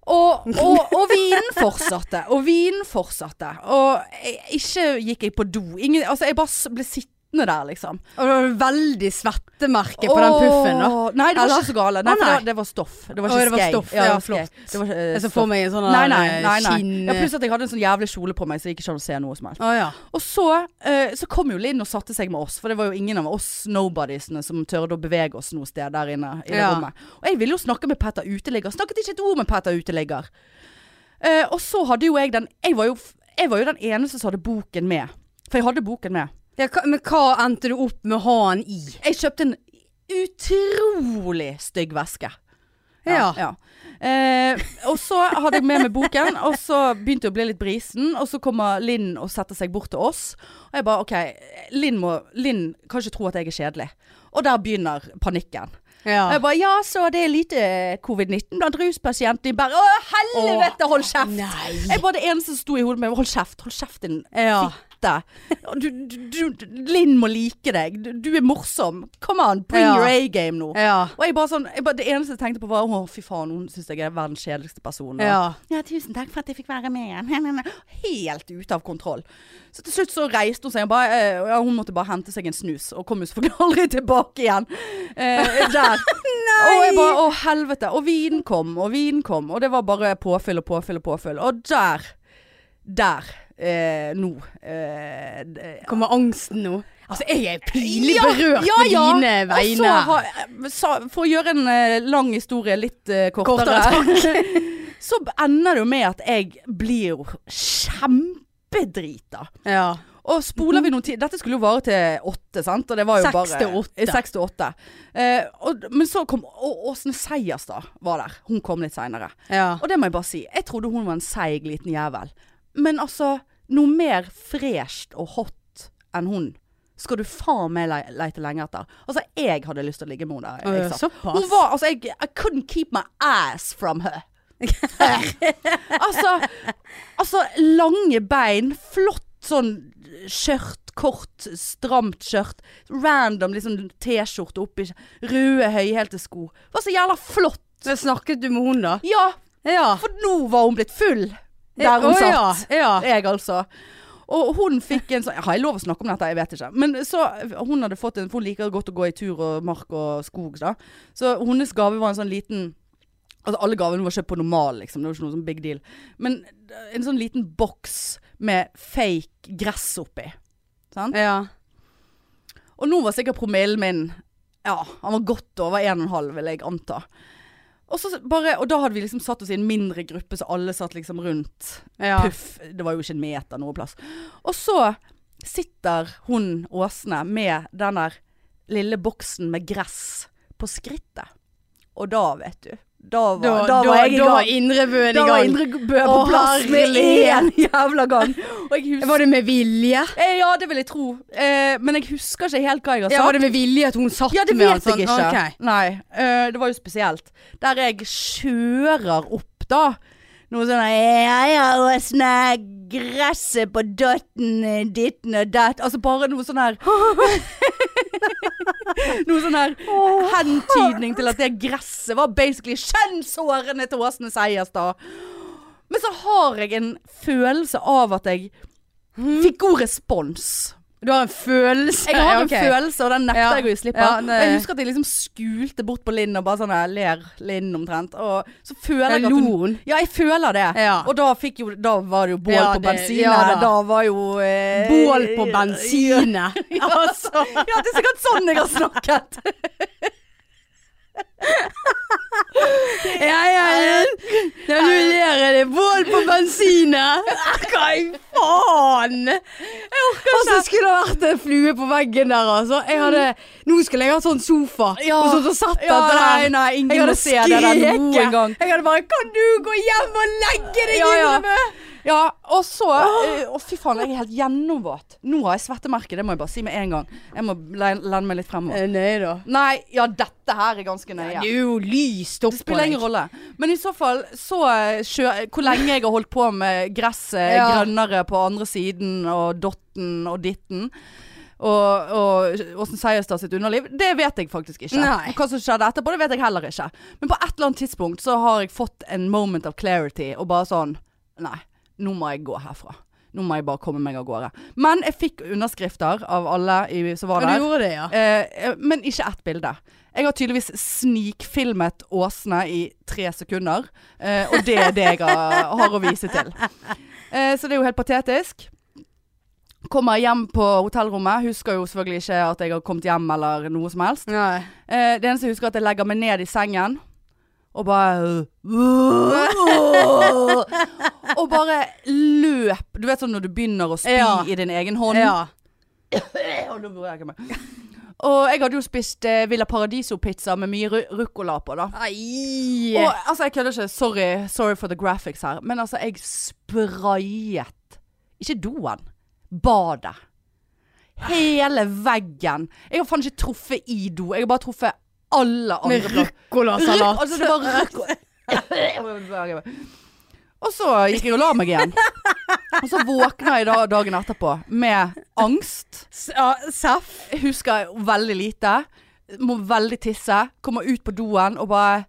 Speaker 1: Og, og, og vinen fortsatte, og vinen fortsatte. Og jeg, ikke gikk jeg på do. Ingen, altså, jeg bare s- ble sittende der, liksom.
Speaker 2: Og det var veldig svettemerke på den puffen. da
Speaker 1: Åh, Nei, det var
Speaker 2: Eller?
Speaker 1: ikke så gale. Nei,
Speaker 2: Å,
Speaker 1: for
Speaker 2: nei.
Speaker 1: det, var- det var stoff. Det var
Speaker 2: Å,
Speaker 1: ikke
Speaker 2: det var
Speaker 1: skei.
Speaker 2: stoff.
Speaker 1: det
Speaker 2: Ja,
Speaker 1: var skei.
Speaker 2: flott.
Speaker 1: Det var, eh,
Speaker 2: Jeg så
Speaker 1: stoff.
Speaker 2: for meg en sånn
Speaker 1: Nei,
Speaker 2: der,
Speaker 1: nei,
Speaker 2: eh,
Speaker 1: nei, nei.
Speaker 2: skinn
Speaker 1: Ja, pluss at jeg hadde en sånn jævlig kjole på meg, så det gikk ikke an å se noe som helst.
Speaker 2: Å ja.
Speaker 1: Og så, eh, så kom jo Linn og satte seg med oss, for det var jo ingen av oss nobodiesene som tørde å bevege oss noe sted der inne i det
Speaker 2: Ja.
Speaker 1: rommet. Og jeg ville jo snakke med Petter Uteligger. Snakket ikke et ord med Petter Uteligger. Eh, og så hadde jo jeg den jeg var jo, f- jeg var jo den eneste som hadde boken med. For jeg hadde boken med.
Speaker 2: ja hva, men hva endte du opp med å ha han i?
Speaker 1: Jeg kjøpte en utrolig stygg veske.
Speaker 2: Ja.
Speaker 1: ja. Eh, og så hadde jeg med meg boken, og så begynte jeg å bli litt brisen. Og så kommer Linn og setter seg bort til oss. Og jeg bare OK, Linn, må, Linn kan ikke tro at jeg er kjedelig. Og der begynner panikken.
Speaker 2: Ja.
Speaker 1: Og jeg bare Ja, så det er lite covid-19 blant ruspasienter. De bare Å, helvete, hold kjeft!
Speaker 2: Nei.
Speaker 1: Jeg var det eneste som sto i hodet mitt. Hold kjeft, hold kjeft din
Speaker 2: Ja.
Speaker 1: fitte. Du, du, du, Linn må like deg. Du, du er morsom. Come on, bring
Speaker 2: Ja.
Speaker 1: your A-game nå.
Speaker 2: Ja.
Speaker 1: Og jeg bare sånn, jeg bare, det eneste jeg tenkte på var Å fy faen, hun synes jeg er verdens kjedeligste person og-
Speaker 2: Ja.
Speaker 1: ja, tusen takk for at jeg fikk være med igjen Helt ute av kontroll Så til slutt så reiste hun seg og bare, eh, ja, Hun måtte bare hente seg en snus Og kom jo selvfølgelig aldri tilbake igjen eh, Der Og jeg bare, å helvete Og vinen kom, og vinen kom Og det var bare påfyll og påfyll og påfyll Og der, der eh, Nå eh, d-
Speaker 2: Kommer angsten nå? Altså, jeg er pinlig
Speaker 1: Ja,
Speaker 2: berørt
Speaker 1: ja, ja.
Speaker 2: på dine
Speaker 1: Og så
Speaker 2: vegne.
Speaker 1: har, sa, for å gjøre en eh, lang historie litt eh, kortere, så ender det jo med at jeg blir jo kjempedrita.
Speaker 2: ja.
Speaker 1: Og spoler vi noen tid Dette skulle jo vare til åtte, sant? Og det var jo
Speaker 2: Mhm. Seks
Speaker 1: bare
Speaker 2: til åtte.
Speaker 1: Eh, Seks til åtte. Eh, og, men så kom Å- Åsne Seierstad var der. Hun kom litt seinere.
Speaker 2: ja.
Speaker 1: Og det må jeg bare si. Jeg trodde hun var en seig liten jævel. Men altså, noe mer fresht og hot enn hun skal du faen meg le- leite lenge etter. Altså, jeg hadde lyst til å ligge med henne der.
Speaker 2: Å,
Speaker 1: Jeg,
Speaker 2: ja,
Speaker 1: sa.
Speaker 2: såpass.
Speaker 1: Hun var Altså, jeg I couldn't keep my ass from her. altså, altså, lange bein, flott sånn skjørt, kort, stramt skjørt. Random liksom T-skjorte oppi, røde høyhælte sko. Var så jævla flott.
Speaker 2: Så snakket du med hun, da?
Speaker 1: Ja,
Speaker 2: Ja.
Speaker 1: for nå var hun blitt full der hun
Speaker 2: Å, ja.
Speaker 1: satt.
Speaker 2: Ja.
Speaker 1: Jeg altså. Og hun fikk en sånn Har jeg lov å snakke om dette? Jeg vet ikke. Men så Hun hadde fått en For hun liker godt å gå i tur og mark og skog, da. Så hennes gave var en sånn liten Altså alle gavene var kjøpt på normal, liksom. Det var ikke noe sånn big deal. Men en sånn liten boks med fake gress oppi. Sant?
Speaker 2: ja.
Speaker 1: Og nå var sikkert promillen min Ja, han var godt over 1,5, vil jeg anta. Og, så bare, og da hadde vi liksom satt oss i en mindre gruppe, så alle satt liksom rundt.
Speaker 2: Ja.
Speaker 1: Puff. Det var jo ikke en meter noe plass. Og så sitter hun Åsne med den der lille boksen med gress på skrittet. Og da, vet du Da var, da, var jeg i
Speaker 2: da var
Speaker 1: gang.
Speaker 2: indre bøen
Speaker 1: Da
Speaker 2: i
Speaker 1: var
Speaker 2: gang.
Speaker 1: Indre Bø på
Speaker 2: Å,
Speaker 1: plass med én
Speaker 2: herlighet.
Speaker 1: jævla gang. Og jeg husker
Speaker 2: Var det med vilje?
Speaker 1: eh, Ja, det vil jeg tro. Eh, men jeg husker ikke helt hva jeg har sagt.
Speaker 2: Ja, var det med vilje at hun satt
Speaker 1: Ja, det
Speaker 2: med han
Speaker 1: vet jeg ikke.
Speaker 2: Ok.
Speaker 1: Nei, eh, det var jo spesielt. Der jeg kjører opp da. Noe sånn ja, ja, og sånn gresset på datten, eh, ditten og datt. Altså bare noe sånn her Noe sånn her hentydning til at det gresset var basically kjønnshårene til Åsne Seierstad. Men så har jeg en følelse av at jeg fikk god respons.
Speaker 2: Du har en følelse?
Speaker 1: Jeg har
Speaker 2: Ja,
Speaker 1: en
Speaker 2: ok.
Speaker 1: følelse, og den nekter
Speaker 2: Ja.
Speaker 1: jeg å gi slipp
Speaker 2: Ja,
Speaker 1: på. Og
Speaker 2: det-
Speaker 1: jeg husker at jeg liksom skulte bort på Linn og bare sånn jeg ler Linn omtrent. Og så føler jeg
Speaker 2: Jeg
Speaker 1: at hun
Speaker 2: lo hun.
Speaker 1: Ja, jeg føler det.
Speaker 2: Ja.
Speaker 1: Og da, fikk jo, da var det jo bål
Speaker 2: Ja,
Speaker 1: på
Speaker 2: det-
Speaker 1: bensinet.
Speaker 2: ja
Speaker 1: da.
Speaker 2: da.
Speaker 1: var jo eh,
Speaker 2: Bål på bensinet. altså.
Speaker 1: Ja, det er sikkert sånn jeg har snakket.
Speaker 2: Ja, ja, ja. Når du ler, er det bål på bensinet. Hva i faen? Jeg orker ikke. Altså, skulle det vært en flue på veggen der, altså. Jeg hadde, nå skulle jeg hatt sånn sofa.
Speaker 1: Ja.
Speaker 2: Og sånn som satt
Speaker 1: Ja,
Speaker 2: etter
Speaker 1: nei, nei, ingen
Speaker 2: Jeg hadde
Speaker 1: må se det der noen
Speaker 2: skreket.
Speaker 1: gang.
Speaker 2: Jeg hadde bare Kan du gå hjem og legge deg,
Speaker 1: Ja, ja.
Speaker 2: Indrebø?
Speaker 1: Ja, og så eh, Å, fy faen, jeg er helt gjennomvåt. Nå har jeg svettemerke, det må jeg bare si med en gang. Jeg må le- lene meg litt fremover.
Speaker 2: Eh, Nei da.
Speaker 1: Nei, ja, dette her er ganske nøye.
Speaker 2: Det er jo lyst opp
Speaker 1: Det spiller ingen rolle. Men i så fall, så eh, sjø, hvor lenge jeg har holdt på med gresset er
Speaker 2: Ja.
Speaker 1: grønnere på andre siden, og dotten og ditten. Og, og Åsen Seierstad sitt underliv, det vet jeg faktisk ikke.
Speaker 2: Nei.
Speaker 1: Hva som skjedde etterpå, det vet jeg heller ikke. Men på et eller annet tidspunkt så har jeg fått en moment of clarity, og bare sånn Nei, nå må jeg gå herfra. Nå må jeg bare komme meg av gårde. Men jeg fikk underskrifter av alle i, som var
Speaker 2: Ja,
Speaker 1: der.
Speaker 2: du gjorde det, ja.
Speaker 1: Eh, eh, men ikke ett bilde. Jeg har tydeligvis snikfilmet Åsne i tre sekunder, eh, og det er det jeg har, har å vise til. Eh, så det er jo helt patetisk. Kommer hjem på hotellrommet, husker jo selvfølgelig ikke at jeg har kommet hjem eller noe som helst.
Speaker 2: Nei.
Speaker 1: Eh, det eneste jeg husker er at jeg legger meg ned i sengen og bare Og bare løp. Du vet sånn når du begynner å spy
Speaker 2: Ja.
Speaker 1: i din egen hånd.
Speaker 2: Ja.
Speaker 1: Og nå burde jeg ikke mer. Og jeg hadde jo spist eh, Villa Paradiso-pizza med mye ru- ruccola på, da.
Speaker 2: Ai.
Speaker 1: Og altså, jeg kødder ikke. Sorry, sorry for the graphics her. Men altså, jeg sprayet Ikke doen. Badet. Hele veggen. Jeg har faen ikke truffet i do. Jeg har bare truffet alle andre
Speaker 2: Med
Speaker 1: plasser. Rykk-
Speaker 2: ruccolasalat.
Speaker 1: Altså, det var rykk- Og så gikk jeg og la meg igjen. Og så våkna jeg da dagen etterpå med angst.
Speaker 2: S- ja, Seff.
Speaker 1: Jeg husker veldig lite. Må veldig tisse. Kommer ut på doen og bare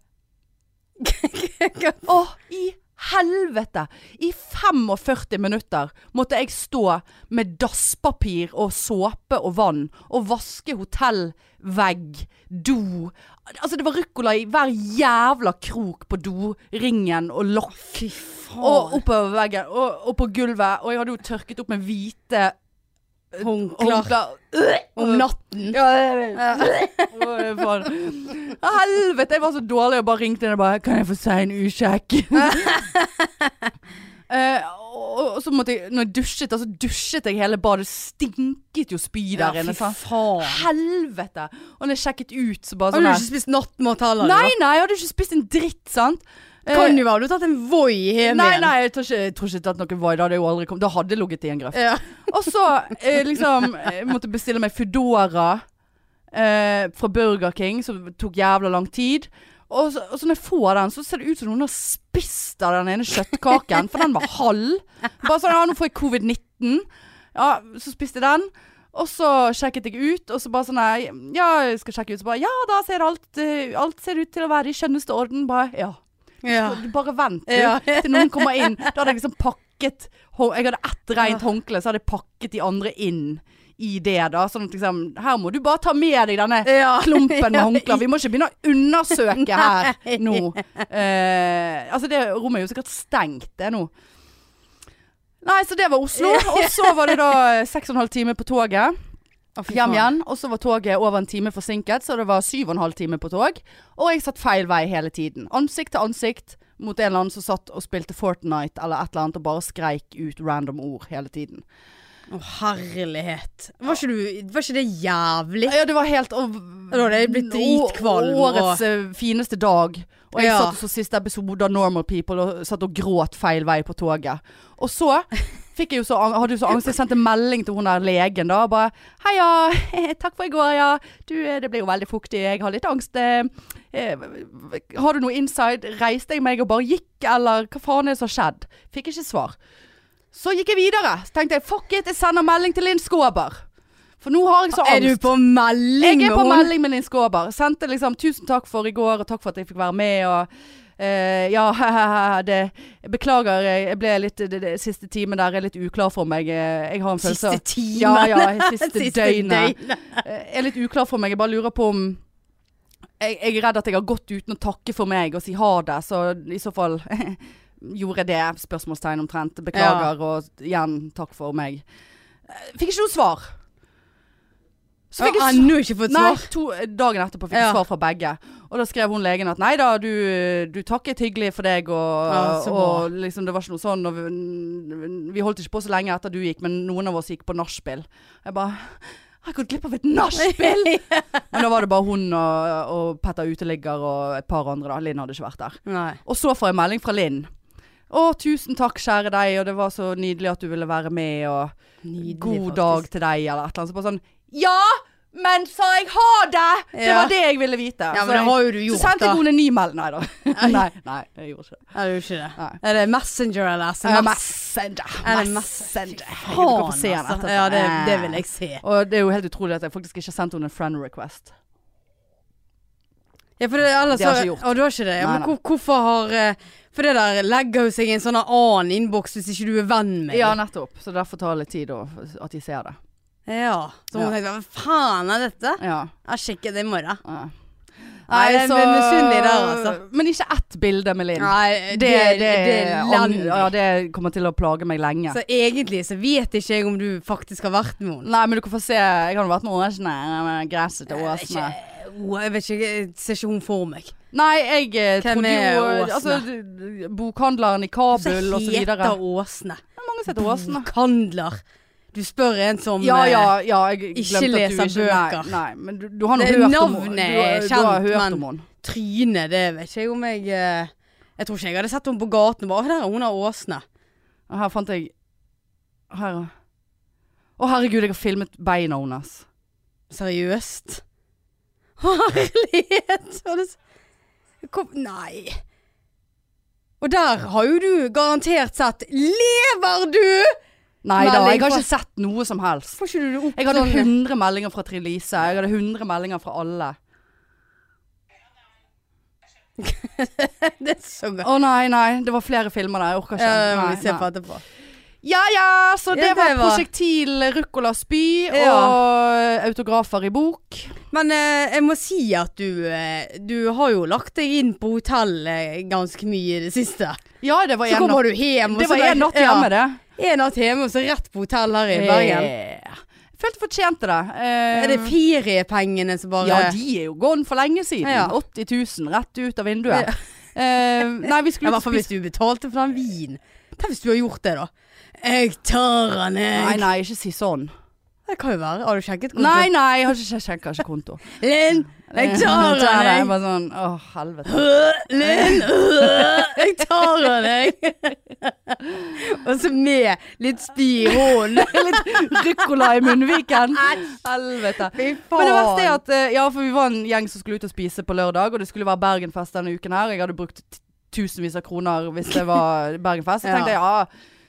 Speaker 1: Å, i helvete! I 45 minutter måtte jeg stå med dasspapir og såpe og vann og vaske hotellvegg, do Altså, det var ruccola i hver jævla krok på doringen og lokk.
Speaker 2: Fy faen.
Speaker 1: Og oppover veggen og, og på gulvet. Og jeg hadde jo tørket opp med hvite
Speaker 2: håndklær
Speaker 1: håndklær.
Speaker 2: om natten.
Speaker 1: Ja, jeg vet. Å, det er faen. Å, Helvete, jeg var så dårlig og bare ringte henne og bare Kan jeg få seg en usjekk? Eh, og, og så måtte jeg Når jeg dusjet, da, så dusjet jeg hele badet. Det stinket jo spy der inne. sant?
Speaker 2: faen. Altså,
Speaker 1: Helvete! Og når jeg sjekket ut, så bare
Speaker 2: Har
Speaker 1: sånn
Speaker 2: du
Speaker 1: her
Speaker 2: ikke spist nattmat heller?
Speaker 1: Nei, nei, jeg hadde ikke spist en dritt, sant? Eh,
Speaker 2: da? Kan jo være. Du har tatt en Voi hjem
Speaker 1: Nei,
Speaker 2: igjen.
Speaker 1: nei, jeg tror ikke jeg tror ikke jeg tatt noe Voi. Da hadde jeg jo aldri kommet Da hadde jeg ligget i en grøft.
Speaker 2: Ja.
Speaker 1: Og så eh, liksom eh, måtte bestille meg Foodora eh, fra Burger King, som tok jævla lang tid. Og så, og så når jeg får den, så ser det ut som noen har spist av den ene kjøttkaken, for den var halv. Bare sånn, ja, nå får jeg covid-19. Ja, så spiste jeg den. Og så sjekket jeg ut, og så bare sånn nei, Ja, jeg skal sjekke ut. Så bare Ja, da ser alt, eh, alt ser ut til å være i skjønneste orden. Bare ja.
Speaker 2: Ja.
Speaker 1: Du Bare vent du,
Speaker 2: Ja.
Speaker 1: til noen kommer inn. Da hadde jeg liksom pakket hå- Jeg hadde ett rent håndkle, så hadde jeg pakket de andre inn i det. da Sånn at liksom Her må du bare ta med deg denne
Speaker 2: ja.
Speaker 1: klumpen med håndklær. Vi må ikke begynne å undersøke her
Speaker 2: Nei.
Speaker 1: nå. Eh, altså, det rommet er jo sikkert stengt, det nå. Nei, så det var Oslo. Og så var det da eh, seks og en halv time på toget.
Speaker 2: Å, fy
Speaker 1: hjem
Speaker 2: faen.
Speaker 1: igjen, og så var toget over en time forsinket, så det var syv og en halv time på tog. Og jeg satt feil vei hele tiden. Ansikt til ansikt mot en eller annen som satt og spilte Fortnite eller et eller annet og bare skreik ut random ord hele tiden.
Speaker 2: Å, herlighet. Var ikke, du, var ikke det jævlig?
Speaker 1: Ja, det var helt og,
Speaker 2: Da hadde jeg blitt dritkvalm,
Speaker 1: å- Årets eh, fineste dag. Og jeg
Speaker 2: Ja.
Speaker 1: satt og så siste episode av Normal People og satt og gråt feil vei på toget. Og så fikk jeg jo så, ang- hadde jo så angst. Jeg sendte melding til hun der legen da. og Bare 'Heia, takk for i går, ja. Du, eh, det ble jo veldig fuktig. Jeg har litt angst. eh, eh, Har du noe inside? Reiste jeg meg og bare gikk, eller hva faen er det som har skjedd? Fikk ikke svar. Så gikk jeg videre. Så tenkte jeg 'fuck it, jeg sender melding til Linn Skåber'. For nå har jeg så angst.
Speaker 2: Er du på melding
Speaker 1: Jeg er
Speaker 2: med
Speaker 1: på
Speaker 2: hun?
Speaker 1: melding med Linn Skåber. Sendte liksom 'tusen takk for i går, og takk for at jeg fikk være med', og eh, ja, det, jeg beklager, jeg jeg ble litt det, det, Siste time der er litt uklar for meg. eh, Jeg har en følelse
Speaker 2: Siste timen.
Speaker 1: Ja, ja, siste,
Speaker 2: Siste
Speaker 1: døgnet.
Speaker 2: døgnet.
Speaker 1: Eh, Jeg er litt uklar for meg. Jeg bare lurer på om jeg, jeg er redd at jeg har gått uten å takke for meg og si ha det, så i så fall gjorde jeg det. Spørsmålstegn omtrent. Beklager, og igjen takk for meg. Eh, Fikk ikke noe svar. Så
Speaker 2: Jeg
Speaker 1: fikk
Speaker 2: har
Speaker 1: jeg
Speaker 2: ennå ikke fått
Speaker 1: Nei,
Speaker 2: svar.
Speaker 1: to, dagen etterpå fikk jeg
Speaker 2: Ja.
Speaker 1: svar fra begge. Og da skrev hun legen at nei da, du, du takket hyggelig for deg, og,
Speaker 2: Ja, så bra.
Speaker 1: og liksom det var ikke noe sånn. Og vi, vi holdt ikke på så lenge etter du gikk, men noen av oss gikk på nachspiel. Jeg bare jeg har gått glipp av et nachspiel! Men da var det bare hun og, og Petter uteligger og et par andre, da. Linn hadde ikke vært der.
Speaker 2: Nei.
Speaker 1: Og så får jeg melding fra Linn. Å, tusen takk, kjære deg, og det var så nydelig at du ville være med, og
Speaker 2: Nydelig,
Speaker 1: god
Speaker 2: faktisk.
Speaker 1: dag til deg, eller et eller annet. Så bare sånn Ja, men sa jeg ha det! Det
Speaker 2: Ja.
Speaker 1: var det jeg ville vite.
Speaker 2: Ja,
Speaker 1: Så
Speaker 2: men det
Speaker 1: jeg-
Speaker 2: har jo du
Speaker 1: så
Speaker 2: gjort,
Speaker 1: sendte
Speaker 2: da.
Speaker 1: jeg henne en ny melding. Nei da. nei, nei, jeg gjorde ikke det.
Speaker 2: Er det jo ikke det?
Speaker 1: Nei.
Speaker 2: Er det Messenger eller SMS?
Speaker 1: Eh, Messenger.
Speaker 2: Er det
Speaker 1: Messenger.
Speaker 2: Faen,
Speaker 1: Herregud, du kan få se henne
Speaker 2: altså.
Speaker 1: etterpå. Eh.
Speaker 2: Ja, det, det vil jeg se.
Speaker 1: Og det er jo helt utrolig at jeg faktisk ikke har sendt henne en friend request.
Speaker 2: Ja, for det, ellers,
Speaker 1: Det har
Speaker 2: så-
Speaker 1: jeg ikke gjort.
Speaker 2: Å, du har ikke det? Ja,
Speaker 1: Nei,
Speaker 2: men
Speaker 1: nei.
Speaker 2: hvor, hvorfor har eh, For det der legger jo seg i en sånn annen innboks hvis ikke du er venn med
Speaker 1: Ja,
Speaker 2: dem.
Speaker 1: nettopp. Så derfor tar det litt tid å- at de ser det.
Speaker 2: ja. Så
Speaker 1: Ja.
Speaker 2: hun tenkte hva faen er dette?
Speaker 1: Ja.
Speaker 2: Jeg sjekker det i morgen.
Speaker 1: ja.
Speaker 2: Nei, jeg er misunnelig der, altså.
Speaker 1: Men ikke ett bilde med Linn.
Speaker 2: Nei,
Speaker 1: Det, det,
Speaker 2: er
Speaker 1: an-
Speaker 2: elendig.
Speaker 1: ja, det kommer til å plage meg lenge.
Speaker 2: Så egentlig så vet ikke jeg om du faktisk har vært med henne.
Speaker 1: Nei, men du kan få se. Jeg har jo vært med åsene. med Gresset til
Speaker 2: Jeg vet
Speaker 1: åsene.
Speaker 2: ikke- Åh, Jeg vet ikke, jeg ser ikke hun for meg.
Speaker 1: Nei, jeg eh,
Speaker 2: Hvem
Speaker 1: trodde
Speaker 2: er
Speaker 1: jo
Speaker 2: Åsene?
Speaker 1: altså, d- d- Bokhandleren i Kabul og så videre.
Speaker 2: heter Åsne.
Speaker 1: Det er Mange som heter Åsene.
Speaker 2: Handler. Du spør en som
Speaker 1: Ja,
Speaker 2: eh,
Speaker 1: ja, ja. Jeg glemte
Speaker 2: ikke
Speaker 1: at du
Speaker 2: leser bøker.
Speaker 1: Nei, nei, men du, du har nå
Speaker 2: Det-
Speaker 1: hørt om
Speaker 2: navnet er
Speaker 1: du, du har
Speaker 2: kjent,
Speaker 1: hørt
Speaker 2: men-
Speaker 1: om henne.
Speaker 2: Tryne, det vet ikke jeg om jeg eh, Jeg tror ikke jeg hadde sett henne på gaten og bare «Å, 'Der er hun av Åsne'.
Speaker 1: Og Her fant jeg Her, ja. Å, herregud, jeg har filmet beina hennes.
Speaker 2: Seriøst? Herlighet! var det s- Kom, nei. Og der har jo du garantert sett Lever du?!
Speaker 1: Nei da,
Speaker 2: Melding
Speaker 1: jeg har
Speaker 2: fra-
Speaker 1: ikke sett noe som helst.
Speaker 2: Får ikke du det opp
Speaker 1: Jeg hadde
Speaker 2: sånn?
Speaker 1: 100 meldinger fra Trine Lise. Jeg hadde 100 meldinger fra alle.
Speaker 2: Det er så godt.
Speaker 1: Å nei, nei. Det var flere filmer der. Jeg orker ikke.
Speaker 2: Ja, det må
Speaker 1: Nei,
Speaker 2: vi se
Speaker 1: nei.
Speaker 2: på etterpå.
Speaker 1: Ja ja, så det,
Speaker 2: Ja, det
Speaker 1: var,
Speaker 2: var-
Speaker 1: prosjektil, ruccola, spy
Speaker 2: Ja.
Speaker 1: og autografer i bok.
Speaker 2: Men eh, jeg må si at du, eh, du har jo lagt deg inn på hotell eh, ganske mye i det siste.
Speaker 1: Ja, det var
Speaker 2: Så
Speaker 1: en natt,
Speaker 2: kommer du hjem, og
Speaker 1: det
Speaker 2: så
Speaker 1: var en natt hjemme, det.
Speaker 2: Ja, en natt hjemme, og så rett på hotell her i Bergen.
Speaker 1: Eh, Jeg følte fortjente det. Eh,
Speaker 2: Er det feriepengene som bare
Speaker 1: ja, de er jo gone for lenge siden.
Speaker 2: Ja.
Speaker 1: 80 000 rett ut av vinduet. Eh, nei, vi
Speaker 2: Ja, I
Speaker 1: skulle
Speaker 2: hvert fall hvis du betalte for den vinen. Tenk hvis du har gjort det, da. Jeg tar den, jeg.
Speaker 1: Nei, nei, ikke si sånn.
Speaker 2: Det kan jo være. Har du sjekket kontoen?
Speaker 1: Nei, nei, jeg har ikke sjekka ikke konto.
Speaker 2: Linn,
Speaker 1: Eh,
Speaker 2: jeg tar
Speaker 1: det.
Speaker 2: den,
Speaker 1: Jeg
Speaker 2: jeg.
Speaker 1: bare sånn, å helvete.
Speaker 2: Øh, Linn, øh, jeg tar den, jeg. Og så med litt spy i hånden.
Speaker 1: Litt ruccola i munnviken. Helvete.
Speaker 2: Fy
Speaker 1: Men det verste er at eh, Ja, for vi var en gjeng som skulle ut og spise på lørdag, og det skulle være Bergenfest denne uken her. Jeg hadde brukt t- tusenvis av kroner hvis det var Bergenfest. Så
Speaker 2: Ja.
Speaker 1: tenkte jeg ja,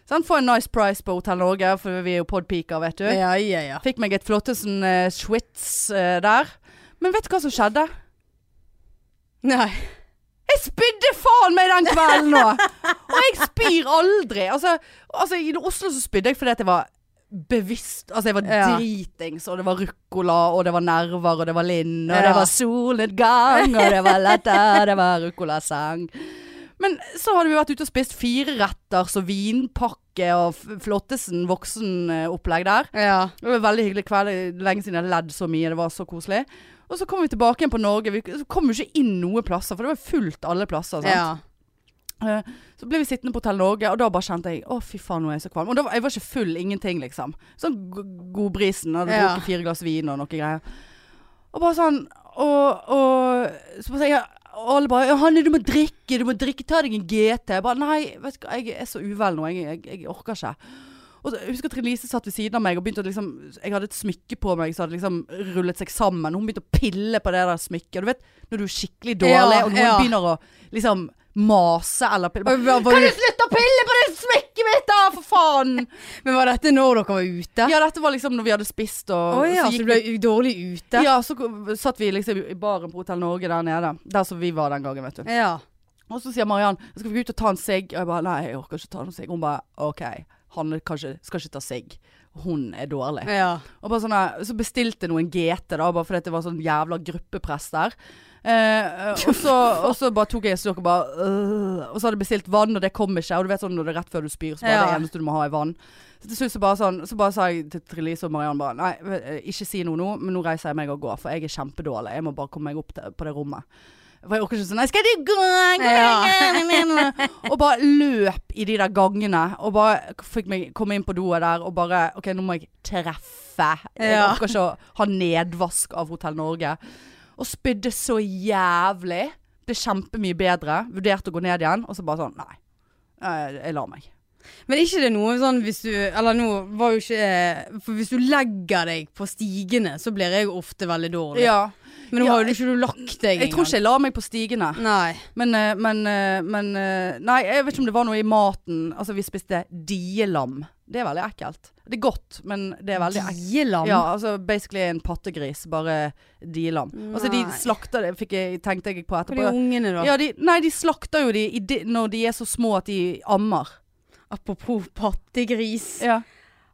Speaker 1: sånn, få en nice price på Hotell Norge, for vi er jo podpeaker, vet du.
Speaker 2: Ja, ja, ja.
Speaker 1: Fikk meg et flottesen uh, schwitz eh, der. Men vet du hva som skjedde?
Speaker 2: Nei.
Speaker 1: Jeg spydde faen meg den kvelden nå! Og jeg spyr aldri. Altså, altså i Oslo så spydde jeg fordi at jeg var bevisst. Altså jeg var
Speaker 2: Ja.
Speaker 1: dritings, og det var ruccola, og det var nerver, og det var Linn, og
Speaker 2: Ja.
Speaker 1: det var solnedgang, og det var latter, det var ruccolasang. Men så hadde vi vært ute og spist fireretters og vinpakke og f- flottesen voksenopplegg der.
Speaker 2: Ja.
Speaker 1: Det var en veldig hyggelig kveld. Lenge siden jeg hadde ledd så mye. Det var så koselig. Og så kom vi tilbake igjen på Norge. Vi så kom jo ikke inn noen plasser, for det var fullt alle plasser. Sant?
Speaker 2: ja.
Speaker 1: Eh, Så ble vi sittende på Hotell Norge, og da bare kjente jeg å fy faen, nå er jeg så kvalm. Og da, var- jeg var ikke full, ingenting, liksom. Sånn go- godbrisen, hadde
Speaker 2: Ja.
Speaker 1: drukket fire glass vin og noe greier. Og bare sånn Og, og så bare sier jeg og alle bare ja, 'Hanne, du må drikke, du må drikke, ta deg en GT'. Jeg bare nei, vet du hva, jeg er så uvel nå, jeg, jeg, jeg orker ikke. Og så, jeg husker Trine Lise satt ved siden av meg og begynte å liksom Jeg hadde et smykke på meg som hadde liksom rullet seg sammen. Hun begynte å pille på det der smykket. Og du vet når du er skikkelig dårlig,
Speaker 2: Ja,
Speaker 1: og noen
Speaker 2: ja.
Speaker 1: begynner å liksom mase eller pille
Speaker 2: Og hva- var
Speaker 1: Kan
Speaker 2: du-
Speaker 1: du slutte å pille på det smykket mitt, da, for faen!
Speaker 2: Men var dette når dere var ute?
Speaker 1: Ja, dette var liksom når vi hadde spist og
Speaker 2: ja, så
Speaker 1: gikk vi-
Speaker 2: du ble u- dårlig ute?
Speaker 1: Ja, så k- satt vi liksom i baren på Hotell Norge der nede. Der som vi var den gangen, vet du.
Speaker 2: Ja.
Speaker 1: Og så sier Mariann skal vi gå ut og ta en sigg? Og jeg bare nei, jeg orker ikke ta noen sigg. Hun bare OK, Hanne kanskje, skal ikke ta sigg. Hun er dårlig.
Speaker 2: ja.
Speaker 1: Og bare sånn, eh, så bestilte jeg noen GT da, bare fordi at det var sånn jævla gruppepress der. Eh, eh, og, så, og så bare tok jeg en slurk og bare øh, Og så hadde jeg bestilt vann, og det kom ikke. Og du vet sånn når det er rett før du spyr, så bare
Speaker 2: Ja.
Speaker 1: det eneste du må ha, er vann. Så til slutt så bare sånn Så bare sa jeg til Trelise og Mariann bare Nei, eh, ikke si noe nå, men nå reiser jeg meg og går, for jeg er kjempedårlig. Jeg må bare komme meg opp til, på det rommet. For jeg orker ikke sånn Nei, skal du gå? Og bare løp i de der gangene. Og bare fikk meg komme inn på doet der og bare OK, nå må jeg treffe. Jeg
Speaker 2: Ja.
Speaker 1: orker ikke å ha nedvask av Hotell Norge. Og spydde så jævlig. Ble kjempemye bedre. Vurderte å gå ned igjen, og så bare sånn Nei. Jeg, jeg lar meg.
Speaker 2: Men er ikke det noe sånn hvis du Eller nå var jo ikke eh, For hvis du legger deg på stigene, så blir jeg ofte veldig dårlig.
Speaker 1: Ja.
Speaker 2: Men nå
Speaker 1: Ja,
Speaker 2: har jo ikke du lagt deg
Speaker 1: Jeg tror ikke jeg la meg på stigene.
Speaker 2: Nei.
Speaker 1: Men, eh, men, eh, men eh, Nei, jeg vet ikke om det var noe i maten. Altså, vi spiste dielam. Det er veldig ekkelt. Det er godt, men det er veldig ekkelt.
Speaker 2: Dielam?
Speaker 1: Ja, altså basically en pattegris, bare dielam. Altså de
Speaker 2: Nei.
Speaker 1: slakter det, fikk jeg, tenkte jeg på
Speaker 2: Hva er de
Speaker 1: etterpå.
Speaker 2: ungene, da?
Speaker 1: Ja, de, nei, de slakter jo de, i de når de er så små at de ammer.
Speaker 2: Apropos pattegris.
Speaker 1: Ja.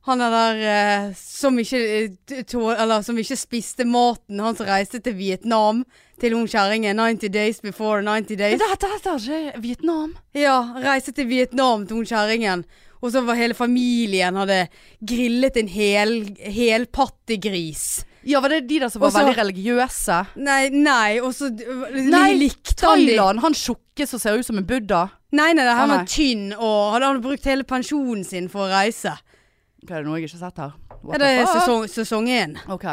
Speaker 2: Han er der eh, som, ikke, eh, t- tå- eller, som ikke spiste maten, han som reiste til Vietnam til hun kjerringen. 90 days before 90
Speaker 1: Men
Speaker 2: days.
Speaker 1: dette, dette er ikke Vietnam.
Speaker 2: Ja, reiste til Vietnam til hun kjerringen. Og så var hele familien hadde grillet en hel, hel pattegris.
Speaker 1: Ja, var det de der som var
Speaker 2: Og så-
Speaker 1: veldig religiøse?
Speaker 2: Nei, nei, og så d- øh,
Speaker 1: Nei,
Speaker 2: likte han de.
Speaker 1: Thailand, han tjukke som ser ut som en buddha.
Speaker 2: Nei, nei, nei,
Speaker 1: Å,
Speaker 2: han
Speaker 1: nei.
Speaker 2: var tynn, og han hadde brukt hele pensjonen sin for å reise.
Speaker 1: Hva er det noe jeg ikke har sett her? What
Speaker 2: Ja, det
Speaker 1: the
Speaker 2: er
Speaker 1: fuck?
Speaker 2: sesong, sesong én.
Speaker 1: Ok.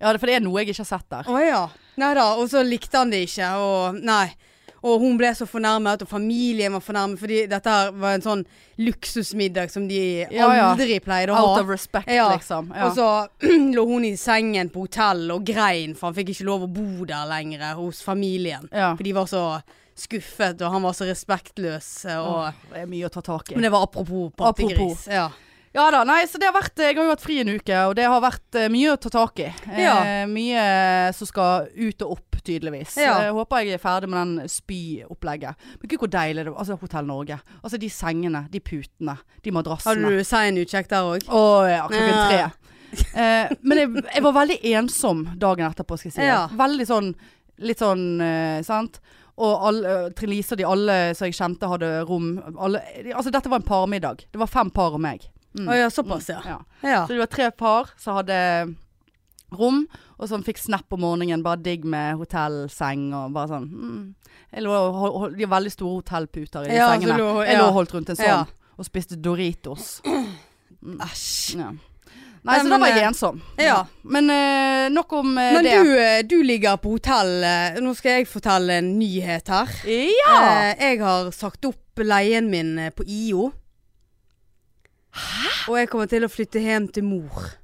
Speaker 1: Ja, det- for det er noe jeg ikke har sett der.
Speaker 2: Å ja. Nei da, og så likte han det ikke, og nei. Og hun ble så fornærmet, og familien var fornærmet, fordi dette her var en sånn luksusmiddag som de
Speaker 1: Ja, ja.
Speaker 2: aldri pleide å
Speaker 1: Out
Speaker 2: ha.
Speaker 1: of respect,
Speaker 2: Ja.
Speaker 1: liksom. Ja.
Speaker 2: Og så lå hun i sengen på hotell og grein, for han fikk ikke lov å bo der lenger hos familien.
Speaker 1: ja.
Speaker 2: For de var så skuffet, og han var så respektløs. eh, Og,
Speaker 1: Åh, det er mye å ta tak i.
Speaker 2: Men det var apropos
Speaker 1: Apropos.
Speaker 2: pattegris. Ja.
Speaker 1: Ja da, nei, så det har vært Jeg har jo hatt fri en uke, og det har vært eh, mye å ta tak i. Eh,
Speaker 2: Ja.
Speaker 1: Mye som skal ut og opp, tydeligvis.
Speaker 2: Ja.
Speaker 1: Jeg håper jeg er ferdig med den spyopplegget. Men gud, hvor deilig det var. Altså, Hotell Norge. Altså, de sengene, de putene, de
Speaker 2: Hadde
Speaker 1: madrassene.
Speaker 2: du sein utkjekk der òg?
Speaker 1: Å ja, klokken tre.
Speaker 2: Ja.
Speaker 1: Eh, men jeg, jeg var veldig ensom dagen etterpå, skal jeg si.
Speaker 2: Ja.
Speaker 1: Veldig sånn Litt sånn, eh, sant. Og alle, eh, Trine Lise og de alle som jeg kjente hadde rom. Alle, altså dette var en parmiddag. Det var fem par og meg. Mm.
Speaker 2: Å ja, såpass, ja.
Speaker 1: Ja.
Speaker 2: ja.
Speaker 1: Så det var tre par som hadde rom, og som fikk snap om morgenen. Bare digg med hotellseng og bare sånn. Mm. Jeg lå, og hol- hol- de har veldig store hotellputer i
Speaker 2: Ja, så
Speaker 1: sengene.
Speaker 2: lå-
Speaker 1: Jeg lå
Speaker 2: ja.
Speaker 1: og holdt rundt en sånn,
Speaker 2: Ja.
Speaker 1: og spiste Doritos.
Speaker 2: Æsj.
Speaker 1: Ja. Nei, så
Speaker 2: Nei,
Speaker 1: da
Speaker 2: men,
Speaker 1: var jeg
Speaker 2: eh,
Speaker 1: ensom.
Speaker 2: ja.
Speaker 1: Men eh, nok om eh,
Speaker 2: Men
Speaker 1: det.
Speaker 2: du, eh, du ligger på hotell. eh, Nå skal jeg fortelle en nyhet her.
Speaker 1: Ja!
Speaker 2: Eh, Jeg har sagt opp leien min eh, på IO. Hæ? Og jeg kommer til å flytte hjem til mor.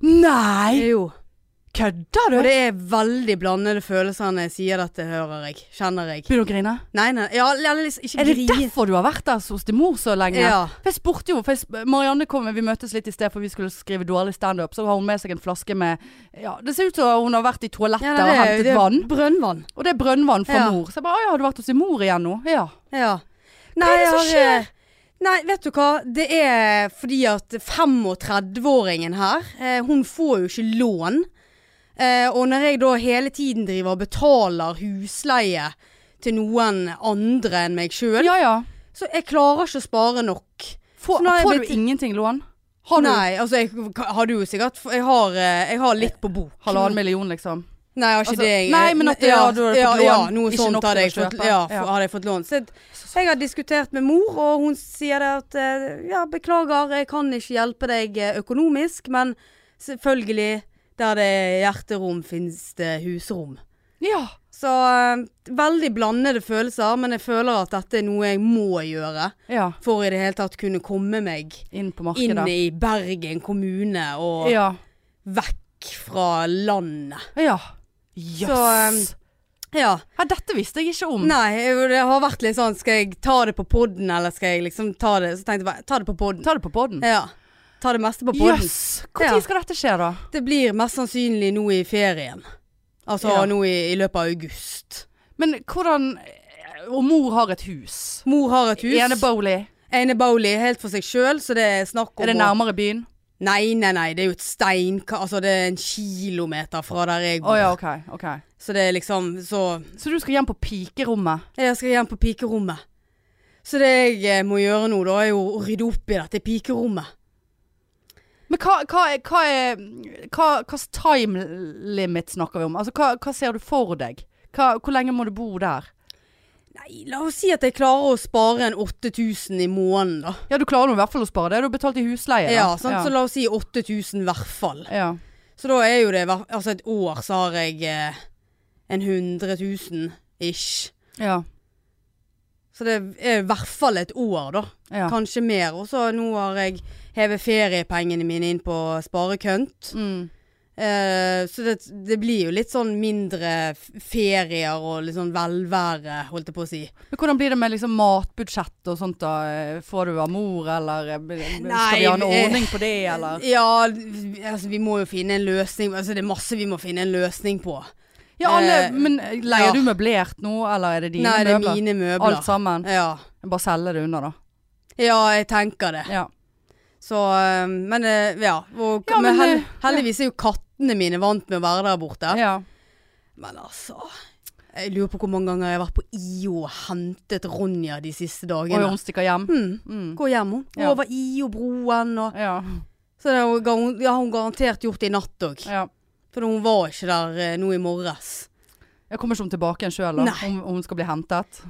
Speaker 1: Nei!
Speaker 2: Jo.
Speaker 1: Kødder
Speaker 2: Og
Speaker 1: du?
Speaker 2: det er veldig blandede følelser når jeg sier dette, hører jeg. Kjenner jeg.
Speaker 1: Begynner du å grine?
Speaker 2: Nei, nei, ja, eller liksom ikke
Speaker 1: Er det
Speaker 2: grin.
Speaker 1: derfor du har vært der hos din mor så lenge?
Speaker 2: Ja.
Speaker 1: For jeg spurte jo, for jeg, sp- Marianne kom, vi møttes litt i sted for vi skulle skrive dårlig standup. Så har hun med seg en flaske med ja, Det ser ut som hun har vært i toalettet
Speaker 2: Ja, nei,
Speaker 1: og hentet
Speaker 2: det er
Speaker 1: vann.
Speaker 2: Brønnvann.
Speaker 1: Og det er brønnvann fra
Speaker 2: Ja.
Speaker 1: mor. Så jeg bare Å ja, har du vært hos din mor igjen nå? Ja.
Speaker 2: Ja.
Speaker 1: er det
Speaker 2: jeg
Speaker 1: som
Speaker 2: har, eh, Nei, vet du hva. Det er fordi at 35-åringen her, eh, hun får jo ikke lån. Eh, og når jeg da hele tiden driver og betaler husleie til noen andre enn meg sjøl.
Speaker 1: Ja ja.
Speaker 2: Så jeg klarer ikke å spare nok.
Speaker 1: Får,
Speaker 2: Så nå har jeg
Speaker 1: får du
Speaker 2: blitt-
Speaker 1: ingenting lån? Har du
Speaker 2: Nei, altså jeg k- hadde jo sikkert Jeg har, eh, jeg har litt på bok. Mm.
Speaker 1: halvannen million, liksom?
Speaker 2: Nei, jeg har ikke
Speaker 1: Altså,
Speaker 2: det. Jeg,
Speaker 1: nei, men at du- ja, du hadde
Speaker 2: ja,
Speaker 1: fått lån.
Speaker 2: Ja,
Speaker 1: Ikke
Speaker 2: noe
Speaker 1: nok
Speaker 2: sånt
Speaker 1: til
Speaker 2: hadde
Speaker 1: å
Speaker 2: jeg fått,
Speaker 1: kjøpe.
Speaker 2: ja, f-
Speaker 1: Ja.
Speaker 2: hadde jeg fått lån. Så jeg- så jeg har diskutert med mor, og hun sier det at eh, ja, beklager, jeg kan ikke hjelpe deg eh, økonomisk, men selvfølgelig, der det er hjerterom, finnes det husrom.
Speaker 1: Ja.
Speaker 2: Så eh, veldig blandede følelser, men jeg føler at dette er noe jeg må gjøre
Speaker 1: ja.
Speaker 2: for i det hele tatt kunne komme meg
Speaker 1: Inn på
Speaker 2: inn
Speaker 1: markedet.
Speaker 2: i Bergen kommune og
Speaker 1: Ja.
Speaker 2: vekk fra landet.
Speaker 1: Ja. Jøss.
Speaker 2: Så, Ja.
Speaker 1: ja, dette visste jeg ikke om.
Speaker 2: Nei, jo, det har vært litt sånn Skal jeg ta det på podden, eller skal jeg liksom ta det Så tenkte jeg bare, ta det på podden
Speaker 1: Ta det på poden.
Speaker 2: Ja, ta det meste Eh, på podden
Speaker 1: Jøss. Når
Speaker 2: Ja.
Speaker 1: skal dette skje, da?
Speaker 2: Det blir mest sannsynlig nå i ferien Altså
Speaker 1: Ja.
Speaker 2: nå i, i løpet av august
Speaker 1: Men hvordan eh, Og mor har et hus.
Speaker 2: Mor har et hus
Speaker 1: Ene Bowley.
Speaker 2: Enebolig helt for seg selv Så det er snakk om
Speaker 1: Er det
Speaker 2: å-
Speaker 1: nærmere byen?
Speaker 2: Nei, nei, nei, det er jo et stein Altså det er en kilometer fra der jeg
Speaker 1: Å
Speaker 2: bor
Speaker 1: ja, OK. ok
Speaker 2: Så det er liksom, så
Speaker 1: Så du skal hjem på pikerommet?
Speaker 2: Jeg skal hjem på pikerommet. Så det jeg eh, må gjøre nå, da, er jo å rydde opp i dette pikerommet.
Speaker 1: Men hva, hva, er- hva er Hva slags time limit snakker vi om? Altså, hva, hva ser du for deg? Hva, hvor lenge må du bo der?
Speaker 2: Nei, la oss si at jeg klarer å spare en 8000 i måneden, da.
Speaker 1: Ja, du klarer nå i hvert fall å spare det. Du har betalt i husleie.
Speaker 2: Ja,
Speaker 1: da.
Speaker 2: sant? Så la oss si 8000 i hvert fall.
Speaker 1: ja.
Speaker 2: Så da er jo det hver- Altså, et år så har jeg eh, en 100 000 ish.
Speaker 1: Ja.
Speaker 2: Så det er i hvert fall et år, da.
Speaker 1: ja.
Speaker 2: Kanskje mer. Og så nå har jeg hevet feriepengene mine inn på sparekønt.
Speaker 1: Mm.
Speaker 2: Eh, så det, det blir jo litt sånn mindre f- ferier og litt sånn velvære, holdt jeg på å si.
Speaker 1: Men hvordan blir det med liksom matbudsjett og sånt da? Eh, Får du av mor, eller eh, b-
Speaker 2: Nei,
Speaker 1: skal vi ha en
Speaker 2: eh,
Speaker 1: ordning på det, eller?
Speaker 2: Ja, vi- altså, vi må jo finne en løsning. Altså, det er masse vi må finne en løsning på.
Speaker 1: Ja, alle,
Speaker 2: eh,
Speaker 1: men leier
Speaker 2: ja.
Speaker 1: du møblert nå, eller er det dine
Speaker 2: Nei, det er
Speaker 1: møbler?
Speaker 2: mine møbler.
Speaker 1: Alt sammen.
Speaker 2: Ja.
Speaker 1: Bare selge det unna, da.
Speaker 2: ja, jeg tenker det.
Speaker 1: Ja.
Speaker 2: Så, eh, men eh, ja. Og,
Speaker 1: Ja,
Speaker 2: men
Speaker 1: men,
Speaker 2: hel,
Speaker 1: eh,
Speaker 2: heldigvis er jo kattene mine vant med å være der borte.
Speaker 1: ja.
Speaker 2: Men altså Jeg lurer på hvor mange ganger jeg har vært på IO og hentet Ronja de siste
Speaker 1: Og
Speaker 2: dagene.
Speaker 1: hun stikker hjem.
Speaker 2: Mm.
Speaker 1: Mm.
Speaker 2: Gå hjem, hun.
Speaker 1: Ja.
Speaker 2: Over IO-broen og
Speaker 1: Ja.
Speaker 2: Så det har hun, ja, hun garantert gjort det i natt òg.
Speaker 1: ja.
Speaker 2: For hun var ikke der eh, nå i morges.
Speaker 1: Jeg kommer ikke om tilbake igjen sjøl, da.
Speaker 2: Nei.
Speaker 1: Om, om hun skal bli hentet.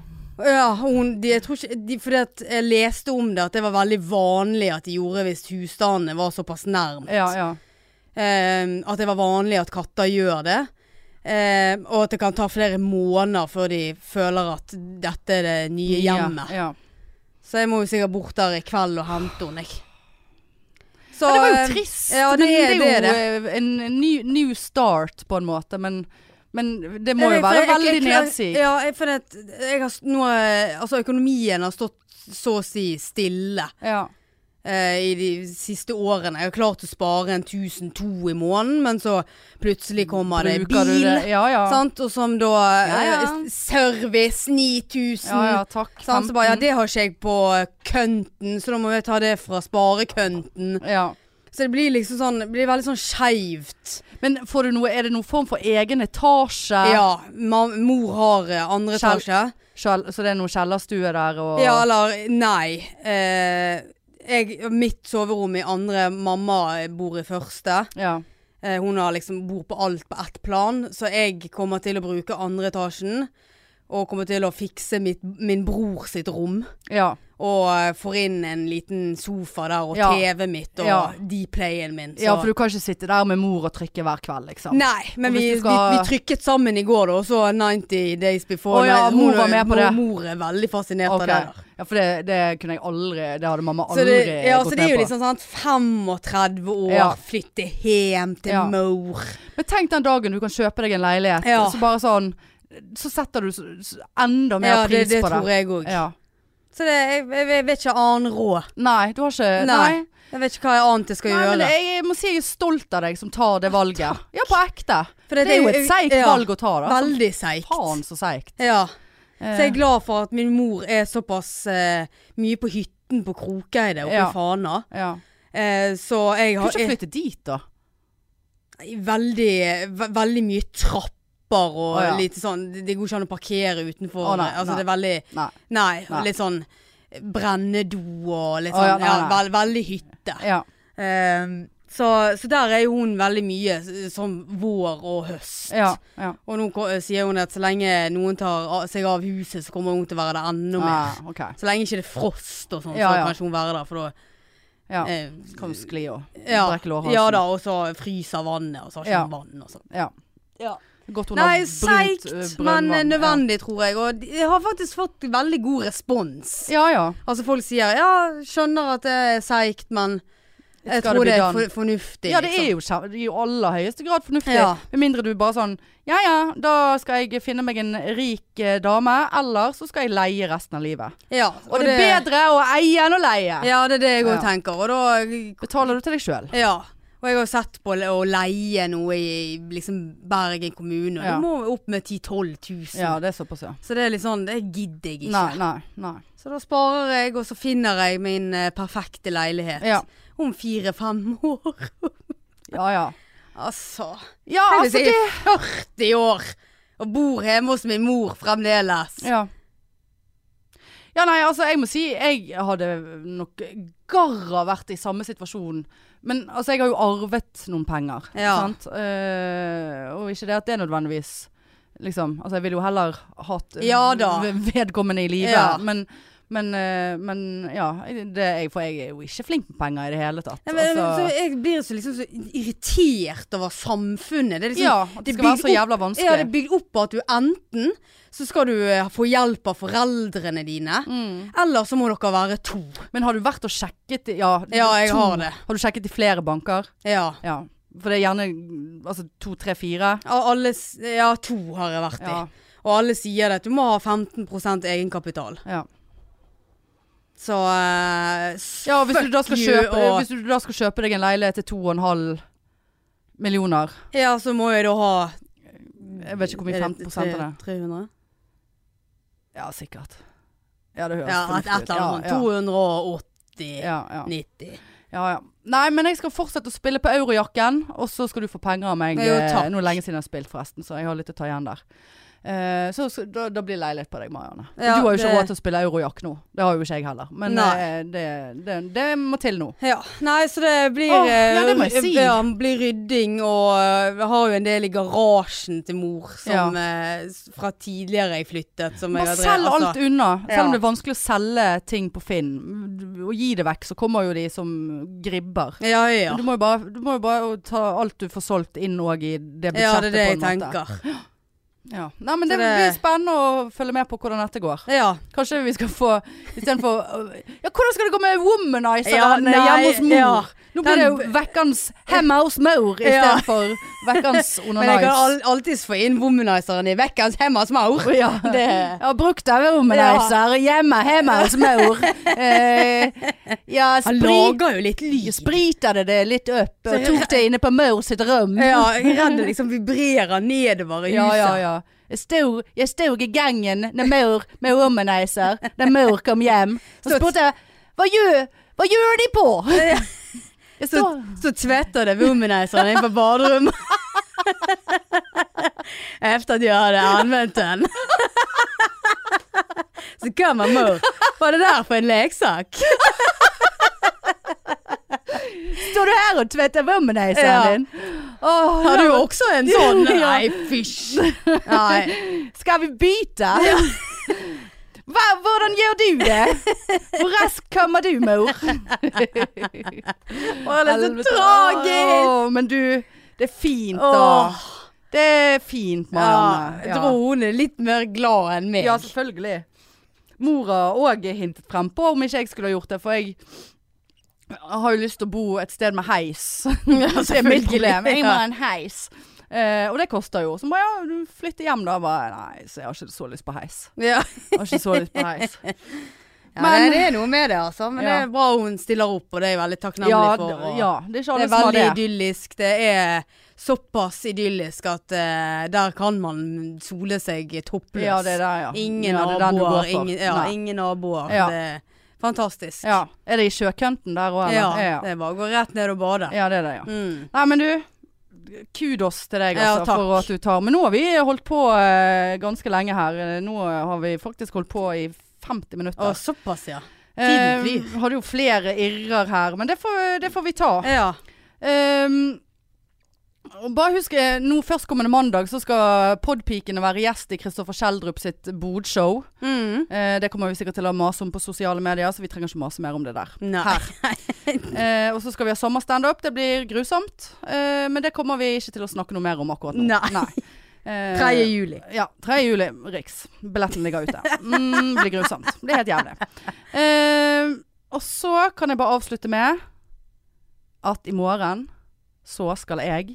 Speaker 2: Ja, hun, de, jeg tror ikke, de, fordi at jeg leste om det, at det var veldig vanlig at de gjorde hvis husstandene var såpass nærmt.
Speaker 1: Ja, ja.
Speaker 2: Eh, at det var vanlig at katter gjør det. Eh, og at det kan ta flere måneder før de føler at dette er det nye hjemmet.
Speaker 1: Ja, ja.
Speaker 2: Så jeg må jo sikkert bort der i kveld og hente henne, jeg. Så,
Speaker 1: Ja, det var
Speaker 2: eh,
Speaker 1: jo trist.
Speaker 2: ja, det
Speaker 1: men det
Speaker 2: er-
Speaker 1: er jo
Speaker 2: det er
Speaker 1: eh, en ny, new start, på en måte. Men, men det må
Speaker 2: Jeg
Speaker 1: jo
Speaker 2: vet, for
Speaker 1: være
Speaker 2: jeg- jeg-
Speaker 1: veldig
Speaker 2: jeg-
Speaker 1: nedsig.
Speaker 2: Ja, jeg, for det, jeg har, s- nå, eh, altså, økonomien har stått så å si stille
Speaker 1: Ja.
Speaker 2: eh, i de siste årene. Jeg har klart å spare en 1002 i måneden, men så plutselig kommer det
Speaker 1: Bruker du
Speaker 2: bil. Sånn,
Speaker 1: det? Ja ja.
Speaker 2: Sant? Og som da
Speaker 1: Ja, ja.
Speaker 2: eh, s- Service 9000.
Speaker 1: ja, Sånn, ja altså takk.
Speaker 2: Sant? Så bare, ja,
Speaker 1: 15.
Speaker 2: det har ikke jeg på kønten, så da må jeg ta det fra sparekønten.
Speaker 1: ja.
Speaker 2: Så det blir liksom sånn, det blir veldig sånn skeivt.
Speaker 1: Men får du noe, er det noen form for egen etasje?
Speaker 2: Ja, ma mor har eh, andre
Speaker 1: Skjell-
Speaker 2: etasje.
Speaker 1: Skjell- så det er noen kjellerstue der og
Speaker 2: Ja, eller nei. Eh, jeg, mitt soverom i andre, mamma bor i første.
Speaker 1: ja.
Speaker 2: Eh, hun har liksom bor på alt på ett plan, så jeg kommer til å bruke andre etasjen. Og kommer til å fikse mitt, min bror sitt rom.
Speaker 1: ja.
Speaker 2: Og eh, får inn en liten sofa der, og
Speaker 1: Ja.
Speaker 2: TV mitt, og
Speaker 1: Ja.
Speaker 2: Dplayen min.
Speaker 1: ja, for du kan ikke sitte der med mor og trykke hver kveld, liksom.
Speaker 2: Nei, men
Speaker 1: Og hvis
Speaker 2: vi,
Speaker 1: du skal-
Speaker 2: vi, vi trykket sammen i går, da, og så 90 Days Before.
Speaker 1: Å ja,
Speaker 2: Hun-
Speaker 1: mor var med på
Speaker 2: mor,
Speaker 1: det.
Speaker 2: Mor er veldig fascinert
Speaker 1: Ok.
Speaker 2: av det. der.
Speaker 1: Ja, for det, det kunne jeg aldri Det hadde mamma
Speaker 2: Så
Speaker 1: aldri
Speaker 2: det, ja,
Speaker 1: gått
Speaker 2: så det er jo
Speaker 1: med på.
Speaker 2: liksom sånn 35 år,
Speaker 1: Ja.
Speaker 2: flytte hjem til
Speaker 1: Ja.
Speaker 2: mor.
Speaker 1: Men tenk den dagen du kan kjøpe deg en leilighet,
Speaker 2: Ja.
Speaker 1: så bare sånn Så setter du s- s- enda mer
Speaker 2: Ja, det,
Speaker 1: pris
Speaker 2: det
Speaker 1: på det.
Speaker 2: tror jeg òg.
Speaker 1: Ja.
Speaker 2: Så det, jeg, jeg, jeg vet ikke annen råd.
Speaker 1: Nei, du har ikke
Speaker 2: Nei,
Speaker 1: Nei,
Speaker 2: Jeg vet ikke hva jeg annet jeg skal
Speaker 1: Nei,
Speaker 2: gjøre.
Speaker 1: men jeg, jeg må si jeg er stolt av deg som tar det valget. Ja, på ekte.
Speaker 2: For
Speaker 1: Det er jo et seigt
Speaker 2: ja,
Speaker 1: valg å ta, da. Som
Speaker 2: Veldig seigt.
Speaker 1: Faen så seigt.
Speaker 2: Ja. Så jeg
Speaker 1: Eh,
Speaker 2: er glad for at min mor er såpass eh, mye på hytten på Krokeide oppe
Speaker 1: Ja.
Speaker 2: i Fana.
Speaker 1: ja.
Speaker 2: Eh, så jeg
Speaker 1: Kunne
Speaker 2: har
Speaker 1: ikke flytte dit, da.
Speaker 2: veldig, ve veldig mye trapp trapper og
Speaker 1: Å, ja.
Speaker 2: lite sånn Det det går ikke an å parkere utenfor.
Speaker 1: Å, nei,
Speaker 2: altså,
Speaker 1: nei.
Speaker 2: det er veldig
Speaker 1: Nei.
Speaker 2: Nei.
Speaker 1: Nei.
Speaker 2: Litt sånn brennedo og litt
Speaker 1: Å,
Speaker 2: sånn
Speaker 1: ja,
Speaker 2: ja,
Speaker 1: nei, nei.
Speaker 2: veld, Veldig hytte.
Speaker 1: Ja.
Speaker 2: Ehm, så, så der er jo hun veldig mye s- som vår og høst.
Speaker 1: Ja. ja.
Speaker 2: Og nå ko- sier hun at så lenge noen tar av- seg av huset, så kommer hun til å være der enda mer.
Speaker 1: Ah, ok.
Speaker 2: Så lenge ikke det er frost og sånn,
Speaker 1: Ja,
Speaker 2: så
Speaker 1: ja.
Speaker 2: kan ikke hun være der, for da
Speaker 1: Ja.
Speaker 2: eh,
Speaker 1: Kan du skli og
Speaker 2: ja,
Speaker 1: brekke lårhalsen?
Speaker 2: ja da, og så fryser vannet, og så har ikke
Speaker 1: Ja.
Speaker 2: hun vann og sånn.
Speaker 1: Ja.
Speaker 2: Ja.
Speaker 1: Godt hun har
Speaker 2: Nei,
Speaker 1: brunt,
Speaker 2: seigt,
Speaker 1: eh,
Speaker 2: men
Speaker 1: brønnvann.
Speaker 2: eh, nødvendig, tror jeg. Og de- jeg har faktisk fått veldig god respons.
Speaker 1: Ja ja.
Speaker 2: Altså folk sier ja, skjønner at det er seigt, men jeg
Speaker 1: gotta be
Speaker 2: tror det er
Speaker 1: done.
Speaker 2: for, fornuftig. liksom.
Speaker 1: Ja, det er sånn. jo kjem- det er i aller høyeste grad fornuftig.
Speaker 2: Ja.
Speaker 1: Med mindre du bare sånn Ja ja, da skal jeg finne meg en rik eh, dame, eller så skal jeg leie resten av livet.
Speaker 2: Ja,
Speaker 1: Og, det er bedre å eie enn å leie.
Speaker 2: Ja, det er det jeg
Speaker 1: Ja.
Speaker 2: òg tenker. Og da
Speaker 1: Betaler du til deg sjøl?
Speaker 2: Ja. Og jeg har sett på le- å leie noe i liksom Bergen kommune, og
Speaker 1: Ja.
Speaker 2: du må opp med 10 000-12 000.
Speaker 1: Ja, det er såpass, ja.
Speaker 2: Så det er litt sånn, det gidder jeg ikke.
Speaker 1: Nei, nei, nei.
Speaker 2: Så da sparer jeg, og så finner jeg min eh, perfekte leilighet.
Speaker 1: Ja.
Speaker 2: Om fire-fem år.
Speaker 1: Ja ja.
Speaker 2: altså.
Speaker 1: Ja,
Speaker 2: Tenk hvis
Speaker 1: altså
Speaker 2: jeg
Speaker 1: det
Speaker 2: er 40 år og bor hjemme hos min mor fremdeles.
Speaker 1: Ja. Ja, nei, altså, jeg må si jeg hadde nok garra vært i samme situasjon. Men altså, jeg har jo arvet noen penger,
Speaker 2: Ja.
Speaker 1: sant? Eh, og ikke det at det er nødvendigvis liksom Altså, jeg ville jo heller hatt eh,
Speaker 2: Ja da.
Speaker 1: v- vedkommende i live,
Speaker 2: Ja.
Speaker 1: men men, eh, men ja, det er jeg, for jeg er jo ikke flink med penger i det hele tatt.
Speaker 2: Nei, men,
Speaker 1: altså,
Speaker 2: så jeg blir så, liksom, så irritert over samfunnet. Det er liksom,
Speaker 1: ja, at det
Speaker 2: det
Speaker 1: skal være
Speaker 2: bygger
Speaker 1: så jævla vanskelig.
Speaker 2: Ja, det er bygd opp at du enten så skal du eh, få hjelp av foreldrene dine,
Speaker 1: mm.
Speaker 2: eller så må dere være to.
Speaker 1: Men har du vært og sjekket i- Ja,
Speaker 2: Ja, jeg
Speaker 1: to.
Speaker 2: har det.
Speaker 1: Har du sjekket i flere banker?
Speaker 2: Ja.
Speaker 1: Ja, for det er gjerne mm, altså, to, tre, fire.
Speaker 2: Og Alle, s- ja, to har jeg vært
Speaker 1: Ja,
Speaker 2: i. Og alle sier det at du må ha 15 egenkapital.
Speaker 1: ja.
Speaker 2: Så eh, s-
Speaker 1: ja og hvis, du da skal
Speaker 2: fuck you,
Speaker 1: kjøpe,
Speaker 2: og-
Speaker 1: hvis du da skal kjøpe deg en leilighet til to og en halv millioner
Speaker 2: Ja, så må jeg da ha
Speaker 1: Jeg vet ikke hvor mye 15 av det er.
Speaker 2: 300?
Speaker 1: Ja, sikkert. Ja, det høres
Speaker 2: Ja, et, et eller annet
Speaker 1: Ja,
Speaker 2: sånt. 280.
Speaker 1: ja. Ja, ja.
Speaker 2: 90.
Speaker 1: ja, ja. Nei, men jeg skal fortsette å spille på eurojakken, og så skal du få penger av meg.
Speaker 2: Nei, jo,
Speaker 1: eh,
Speaker 2: takk.
Speaker 1: Nå er det lenge siden jeg har spilt, forresten, så jeg har litt å ta igjen der. Eh, så så- da, da blir leilighet på deg, Marianne.
Speaker 2: Ja,
Speaker 1: du har jo ikke
Speaker 2: det-
Speaker 1: råd til å spille eurojakk nå. Det har jo ikke jeg heller. Men
Speaker 2: Nei.
Speaker 1: eh, det, det, det må til nå.
Speaker 2: Ja, nei, så det blir
Speaker 1: Åh, ja, det må jeg
Speaker 2: eh,
Speaker 1: si.
Speaker 2: ja, blir rydding og eh, jeg har jo en del i garasjen til mor som eh, s- fra tidligere jeg flyttet. Som
Speaker 1: Bare
Speaker 2: jeg har drevet- altså.
Speaker 1: selg alt unna. Selv om
Speaker 2: Ja.
Speaker 1: det er vanskelig å selge ting på Finn. Og gi det vekk, så kommer jo de som gribber.
Speaker 2: Ja, ja.
Speaker 1: Du må jo bare, du må jo bare ta alt du får solgt inn òg i det budsjettet.
Speaker 2: Ja, det er det jeg
Speaker 1: på en måte.
Speaker 2: tenker.
Speaker 1: Ja. Nei, men
Speaker 2: Så
Speaker 1: det,
Speaker 2: det-
Speaker 1: blir spennende å følge med på hvordan dette går.
Speaker 2: Ja.
Speaker 1: Kanskje vi skal få istedenfor øh, Ja, hvordan skal det gå med womanizer
Speaker 2: Ja,
Speaker 1: den, eh,
Speaker 2: nei,
Speaker 1: hjemme hos mor?
Speaker 2: ja.
Speaker 1: Nå blir
Speaker 2: Den-
Speaker 1: det jo vekkans hjemme hos mor
Speaker 2: Ja.
Speaker 1: istedenfor vekkans
Speaker 2: Men jeg
Speaker 1: onanize.
Speaker 2: kan al alltids få inn womanizeren i vekkens hemmas maur.
Speaker 1: Ja.
Speaker 2: Det
Speaker 1: Jeg har brukt av womanizer hjemme hjemme hos mor. Eh, ja,
Speaker 2: Han
Speaker 1: sprit,
Speaker 2: lager jo litt lys.
Speaker 1: spritade det litt opp og tok det inne på mor sitt rom.
Speaker 2: Ja, jeg er redd det liksom vibrerer nedover i
Speaker 1: ja,
Speaker 2: huset.
Speaker 1: ja. ja. Jeg stod, jeg stod i gangen når mor med womanizer, da mor kom hjem. Så
Speaker 2: Så-
Speaker 1: spurte jeg hva gjør, hva gjør de på? Jeg
Speaker 2: Så,
Speaker 1: står
Speaker 2: så tvättar det womanizern in på badrummet. Efter att jag hade använt den. Så kommer mor. Vad är det där för en leksak?
Speaker 1: står du her og tvetter womanizeren
Speaker 2: Ja.
Speaker 1: din? Åh,
Speaker 2: Har
Speaker 1: la-
Speaker 2: du också en sånn? sån?
Speaker 1: Ja.
Speaker 2: Nej, fish. Nej.
Speaker 1: Skal vi bytte? Hva, hvordan gjør du det? Hvor raskt kommer du, mor?
Speaker 2: Åh, det är
Speaker 1: Helvete.
Speaker 2: så tragiskt.
Speaker 1: Åh, men du, det er fint da.
Speaker 2: Åh.
Speaker 1: Det er fint,
Speaker 2: Ja,
Speaker 1: Marianne.
Speaker 2: jag tror hon är lite mer glad än mig.
Speaker 1: Ja, selvfølgelig. Mora òg hintet frem på om ikke jeg skulle ha gjort det, for jeg har jo lyst til å bo et sted med heis. det er mitt
Speaker 2: selvfølgelig.
Speaker 1: problem. Jeg må
Speaker 2: Ja.
Speaker 1: ha en heis. Eh, og det koster jo. Så må jeg jo flytte hjem da. Jeg Bare, nei, så jeg har ikke så lyst på heis.
Speaker 2: Ja.
Speaker 1: Jeg har ikke så lyst på heis.
Speaker 2: Ja,
Speaker 1: Men-
Speaker 2: nei, det er noe med det altså. Men
Speaker 1: Ja.
Speaker 2: det er bra hun stiller opp, og det er jeg veldig takknemlig
Speaker 1: Ja,
Speaker 2: for.
Speaker 1: d-
Speaker 2: og-
Speaker 1: ja, det er ikke
Speaker 2: Det
Speaker 1: alle
Speaker 2: er
Speaker 1: som har
Speaker 2: veldig
Speaker 1: det.
Speaker 2: idyllisk. Det er såpass idyllisk at eh, der kan man sole seg toppløs.
Speaker 1: Ja, det er der, ja.
Speaker 2: Ingen
Speaker 1: ja, det er den du går
Speaker 2: naboer.
Speaker 1: for.
Speaker 2: Ingen, ja,
Speaker 1: Nei.
Speaker 2: ingen naboer.
Speaker 1: Ja.
Speaker 2: Det er fantastisk.
Speaker 1: ja. Er det i sjøkanten der òg,
Speaker 2: Ja,
Speaker 1: eller?
Speaker 2: det er bare å gå rett ned og bade.
Speaker 1: ja, det er det, ja.
Speaker 2: Mm.
Speaker 1: Nei, men du. kudos til deg
Speaker 2: Ja,
Speaker 1: altså,
Speaker 2: takk.
Speaker 1: for at du tar. Men nå har vi holdt på eh, ganske lenge her. Eh, Nå har vi faktisk holdt på i 50
Speaker 2: Å,
Speaker 1: minutter.
Speaker 2: såpass, ja.
Speaker 1: Eh,
Speaker 2: tiden flyr.
Speaker 1: hadde jo flere irrer her, men det får, det får vi ta.
Speaker 2: Ja.
Speaker 1: Ehm, og bare husk, eh, nå førstkommende mandag så skal podpikene være gjest i Kristoffer Kjeldrup sitt bodshow.
Speaker 2: Mm.
Speaker 1: Eh, det kommer vi sikkert til å mase om på sosiale medier, så vi trenger ikke mase mer om det der.
Speaker 2: Nei.
Speaker 1: Her. Eh, og så skal vi ha sommerstandup. Det blir grusomt. Eh, men det kommer vi ikke til å snakke noe mer om akkurat nå.
Speaker 2: Nei.
Speaker 1: Eh,
Speaker 2: 3. juli.
Speaker 1: ja, 3. juli, Riks. Billetten ligger ute. Mm, blir grusomt. Blir helt jævlig. Eh, og så kan jeg bare avslutte med at i morgen så skal jeg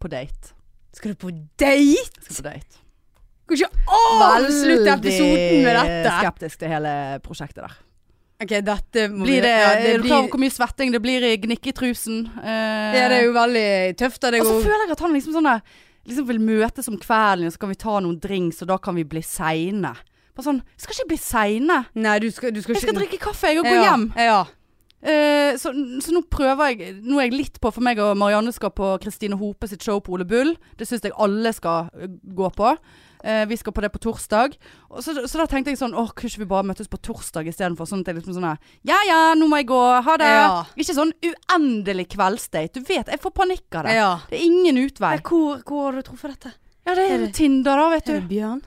Speaker 1: på date.
Speaker 2: Skal du på date?
Speaker 1: Skal på date.
Speaker 2: Kan ikke avslutte episoden med dette?
Speaker 1: skeptisk til hele prosjektet der.
Speaker 2: Ok, dette må
Speaker 1: Blir det,
Speaker 2: ja, det
Speaker 1: Er du klar over
Speaker 2: blir,
Speaker 1: hvor mye svetting det blir i gnikk i trusen? Eh,
Speaker 2: ja, det er jo veldig tøft av deg
Speaker 1: Og så
Speaker 2: òg.
Speaker 1: føler jeg at han liksom sånn der Liksom vil møtes om kvelden, og så kan vi ta noen drinks, og da kan vi bli seine. Bare sånn Skal ikke bli seine.
Speaker 2: Nei, du skal, du skal
Speaker 1: Jeg skal drikke kaffe, jeg, og gå
Speaker 2: ja,
Speaker 1: hjem.
Speaker 2: Ja.
Speaker 1: Eh, så, så nå prøver jeg Nå er jeg litt på, for meg og Marianne skal på Kristine Hope sitt show på Ole Bull. Det syns jeg alle skal eh, gå på. Eh, vi skal på det på torsdag. Og så, så da tenkte jeg sånn Åh, kunne ikke vi bare møtes på torsdag istedenfor? Sånn at jeg liksom sånn her Ja ja, nå må jeg gå. Ha det.
Speaker 2: Ja.
Speaker 1: Ikke sånn uendelig kveldsdate. Du vet, jeg får panikk av det.
Speaker 2: ja.
Speaker 1: Det er ingen utvei.
Speaker 2: Hvor, hvor har du truffet dette?
Speaker 1: Ja, det
Speaker 2: Er
Speaker 1: er
Speaker 2: det-
Speaker 1: Tinder da, vet
Speaker 2: Er det
Speaker 1: du.
Speaker 2: Bjørn?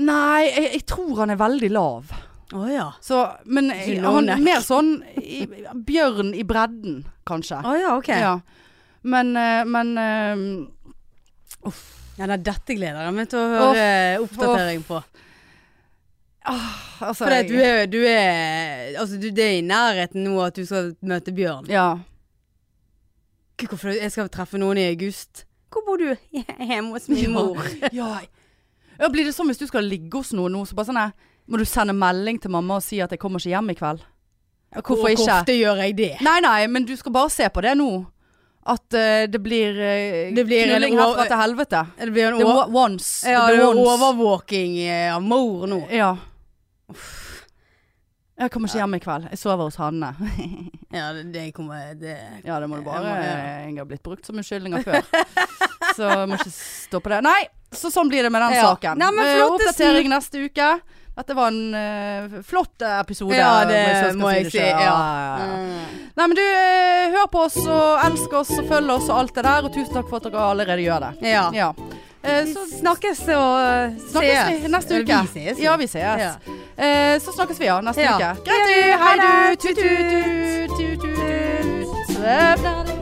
Speaker 1: Nei, jeg, jeg tror han er veldig lav.
Speaker 2: Å ja.
Speaker 1: Så, men
Speaker 2: You
Speaker 1: jeg-
Speaker 2: know,
Speaker 1: han
Speaker 2: Nick.
Speaker 1: er mer sånn i, bjørn i bredden, kanskje.
Speaker 2: Å ja, ok. Ja.
Speaker 1: Ja. Men, eh, men eh,
Speaker 2: nei, dette gleder jeg meg til å høre oppdatering på.
Speaker 1: altså,
Speaker 2: For du
Speaker 1: jeg-
Speaker 2: er, du er Altså, du det er i nærheten nå at du skal møte Bjørn.
Speaker 1: Ja.
Speaker 2: Gud, Hvorfor jeg skal treffe noen i august? Hvor bor du? Hjemme hos min mor.
Speaker 1: ja. ja. Blir det sånn hvis du skal ligge hos noen nå, så bare sånn eh, Må du sende melding til mamma og si at jeg kommer ikke hjem i kveld? Hvorfor
Speaker 2: Hvor
Speaker 1: ikke?
Speaker 2: ofte gjør jeg det?
Speaker 1: Nei, nei, men du skal bare se på det nå. At eh, det blir, uh,
Speaker 2: Det blir en
Speaker 1: knulling
Speaker 2: år-
Speaker 1: herfra til helvete.
Speaker 2: Det blir en
Speaker 1: Det er
Speaker 2: over,
Speaker 1: wa- once.
Speaker 2: ja,
Speaker 1: det
Speaker 2: det
Speaker 1: blir
Speaker 2: er
Speaker 1: once.
Speaker 2: overvåking eh, av mor nå.
Speaker 1: Ja. Jeg kommer ikke hjem i kveld. Jeg sover hos Hanne.
Speaker 2: Ja, det, det kommer det.
Speaker 1: Ja, det må du bare
Speaker 2: Jeg må- ja.
Speaker 1: Jeg har blitt brukt som unnskyldninger før. Så jeg må ikke stoppe det. Nei, så sånn blir det med den
Speaker 2: Ja.
Speaker 1: saken.
Speaker 2: Nei, men
Speaker 1: Eh,
Speaker 2: flottesen.
Speaker 1: Oppdatering neste uke. Dette var en eh, flott episode.
Speaker 2: Ja, det
Speaker 1: hvis skal
Speaker 2: må jeg
Speaker 1: det
Speaker 2: si,
Speaker 1: selv.
Speaker 2: ja.
Speaker 1: Ja, Mm. ja, ja. Nei, men du, eh, hør på oss og elsk oss og følg oss og alt det der. Og tusen takk for at dere allerede gjør det.
Speaker 2: Ja.
Speaker 1: Ja. Eh,
Speaker 2: Så
Speaker 1: så
Speaker 2: snakkes og
Speaker 1: snakkes Eh, vi neste uke.
Speaker 2: Vi ses.
Speaker 1: Ja, vi ses.
Speaker 2: Ja.
Speaker 1: Eh, så snakkes vi, ja. Neste
Speaker 2: Ja.
Speaker 1: uke. Greit, du. Hei, du. Tut-tut. Tut-tut. Svevn er det.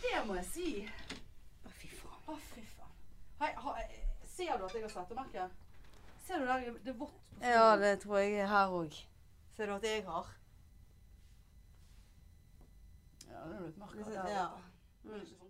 Speaker 1: Det må jeg si. Å, fy faen. Å, fy faen. Hei, ha, eh, ser du at jeg har svettemerke? Ser du der? Det er vått.
Speaker 2: Ja, det tror jeg her òg. Ser du at jeg har?
Speaker 1: Ja, det er jo et merke.
Speaker 2: Det
Speaker 1: der.
Speaker 2: ser- ja.
Speaker 1: Det er ikke sånn.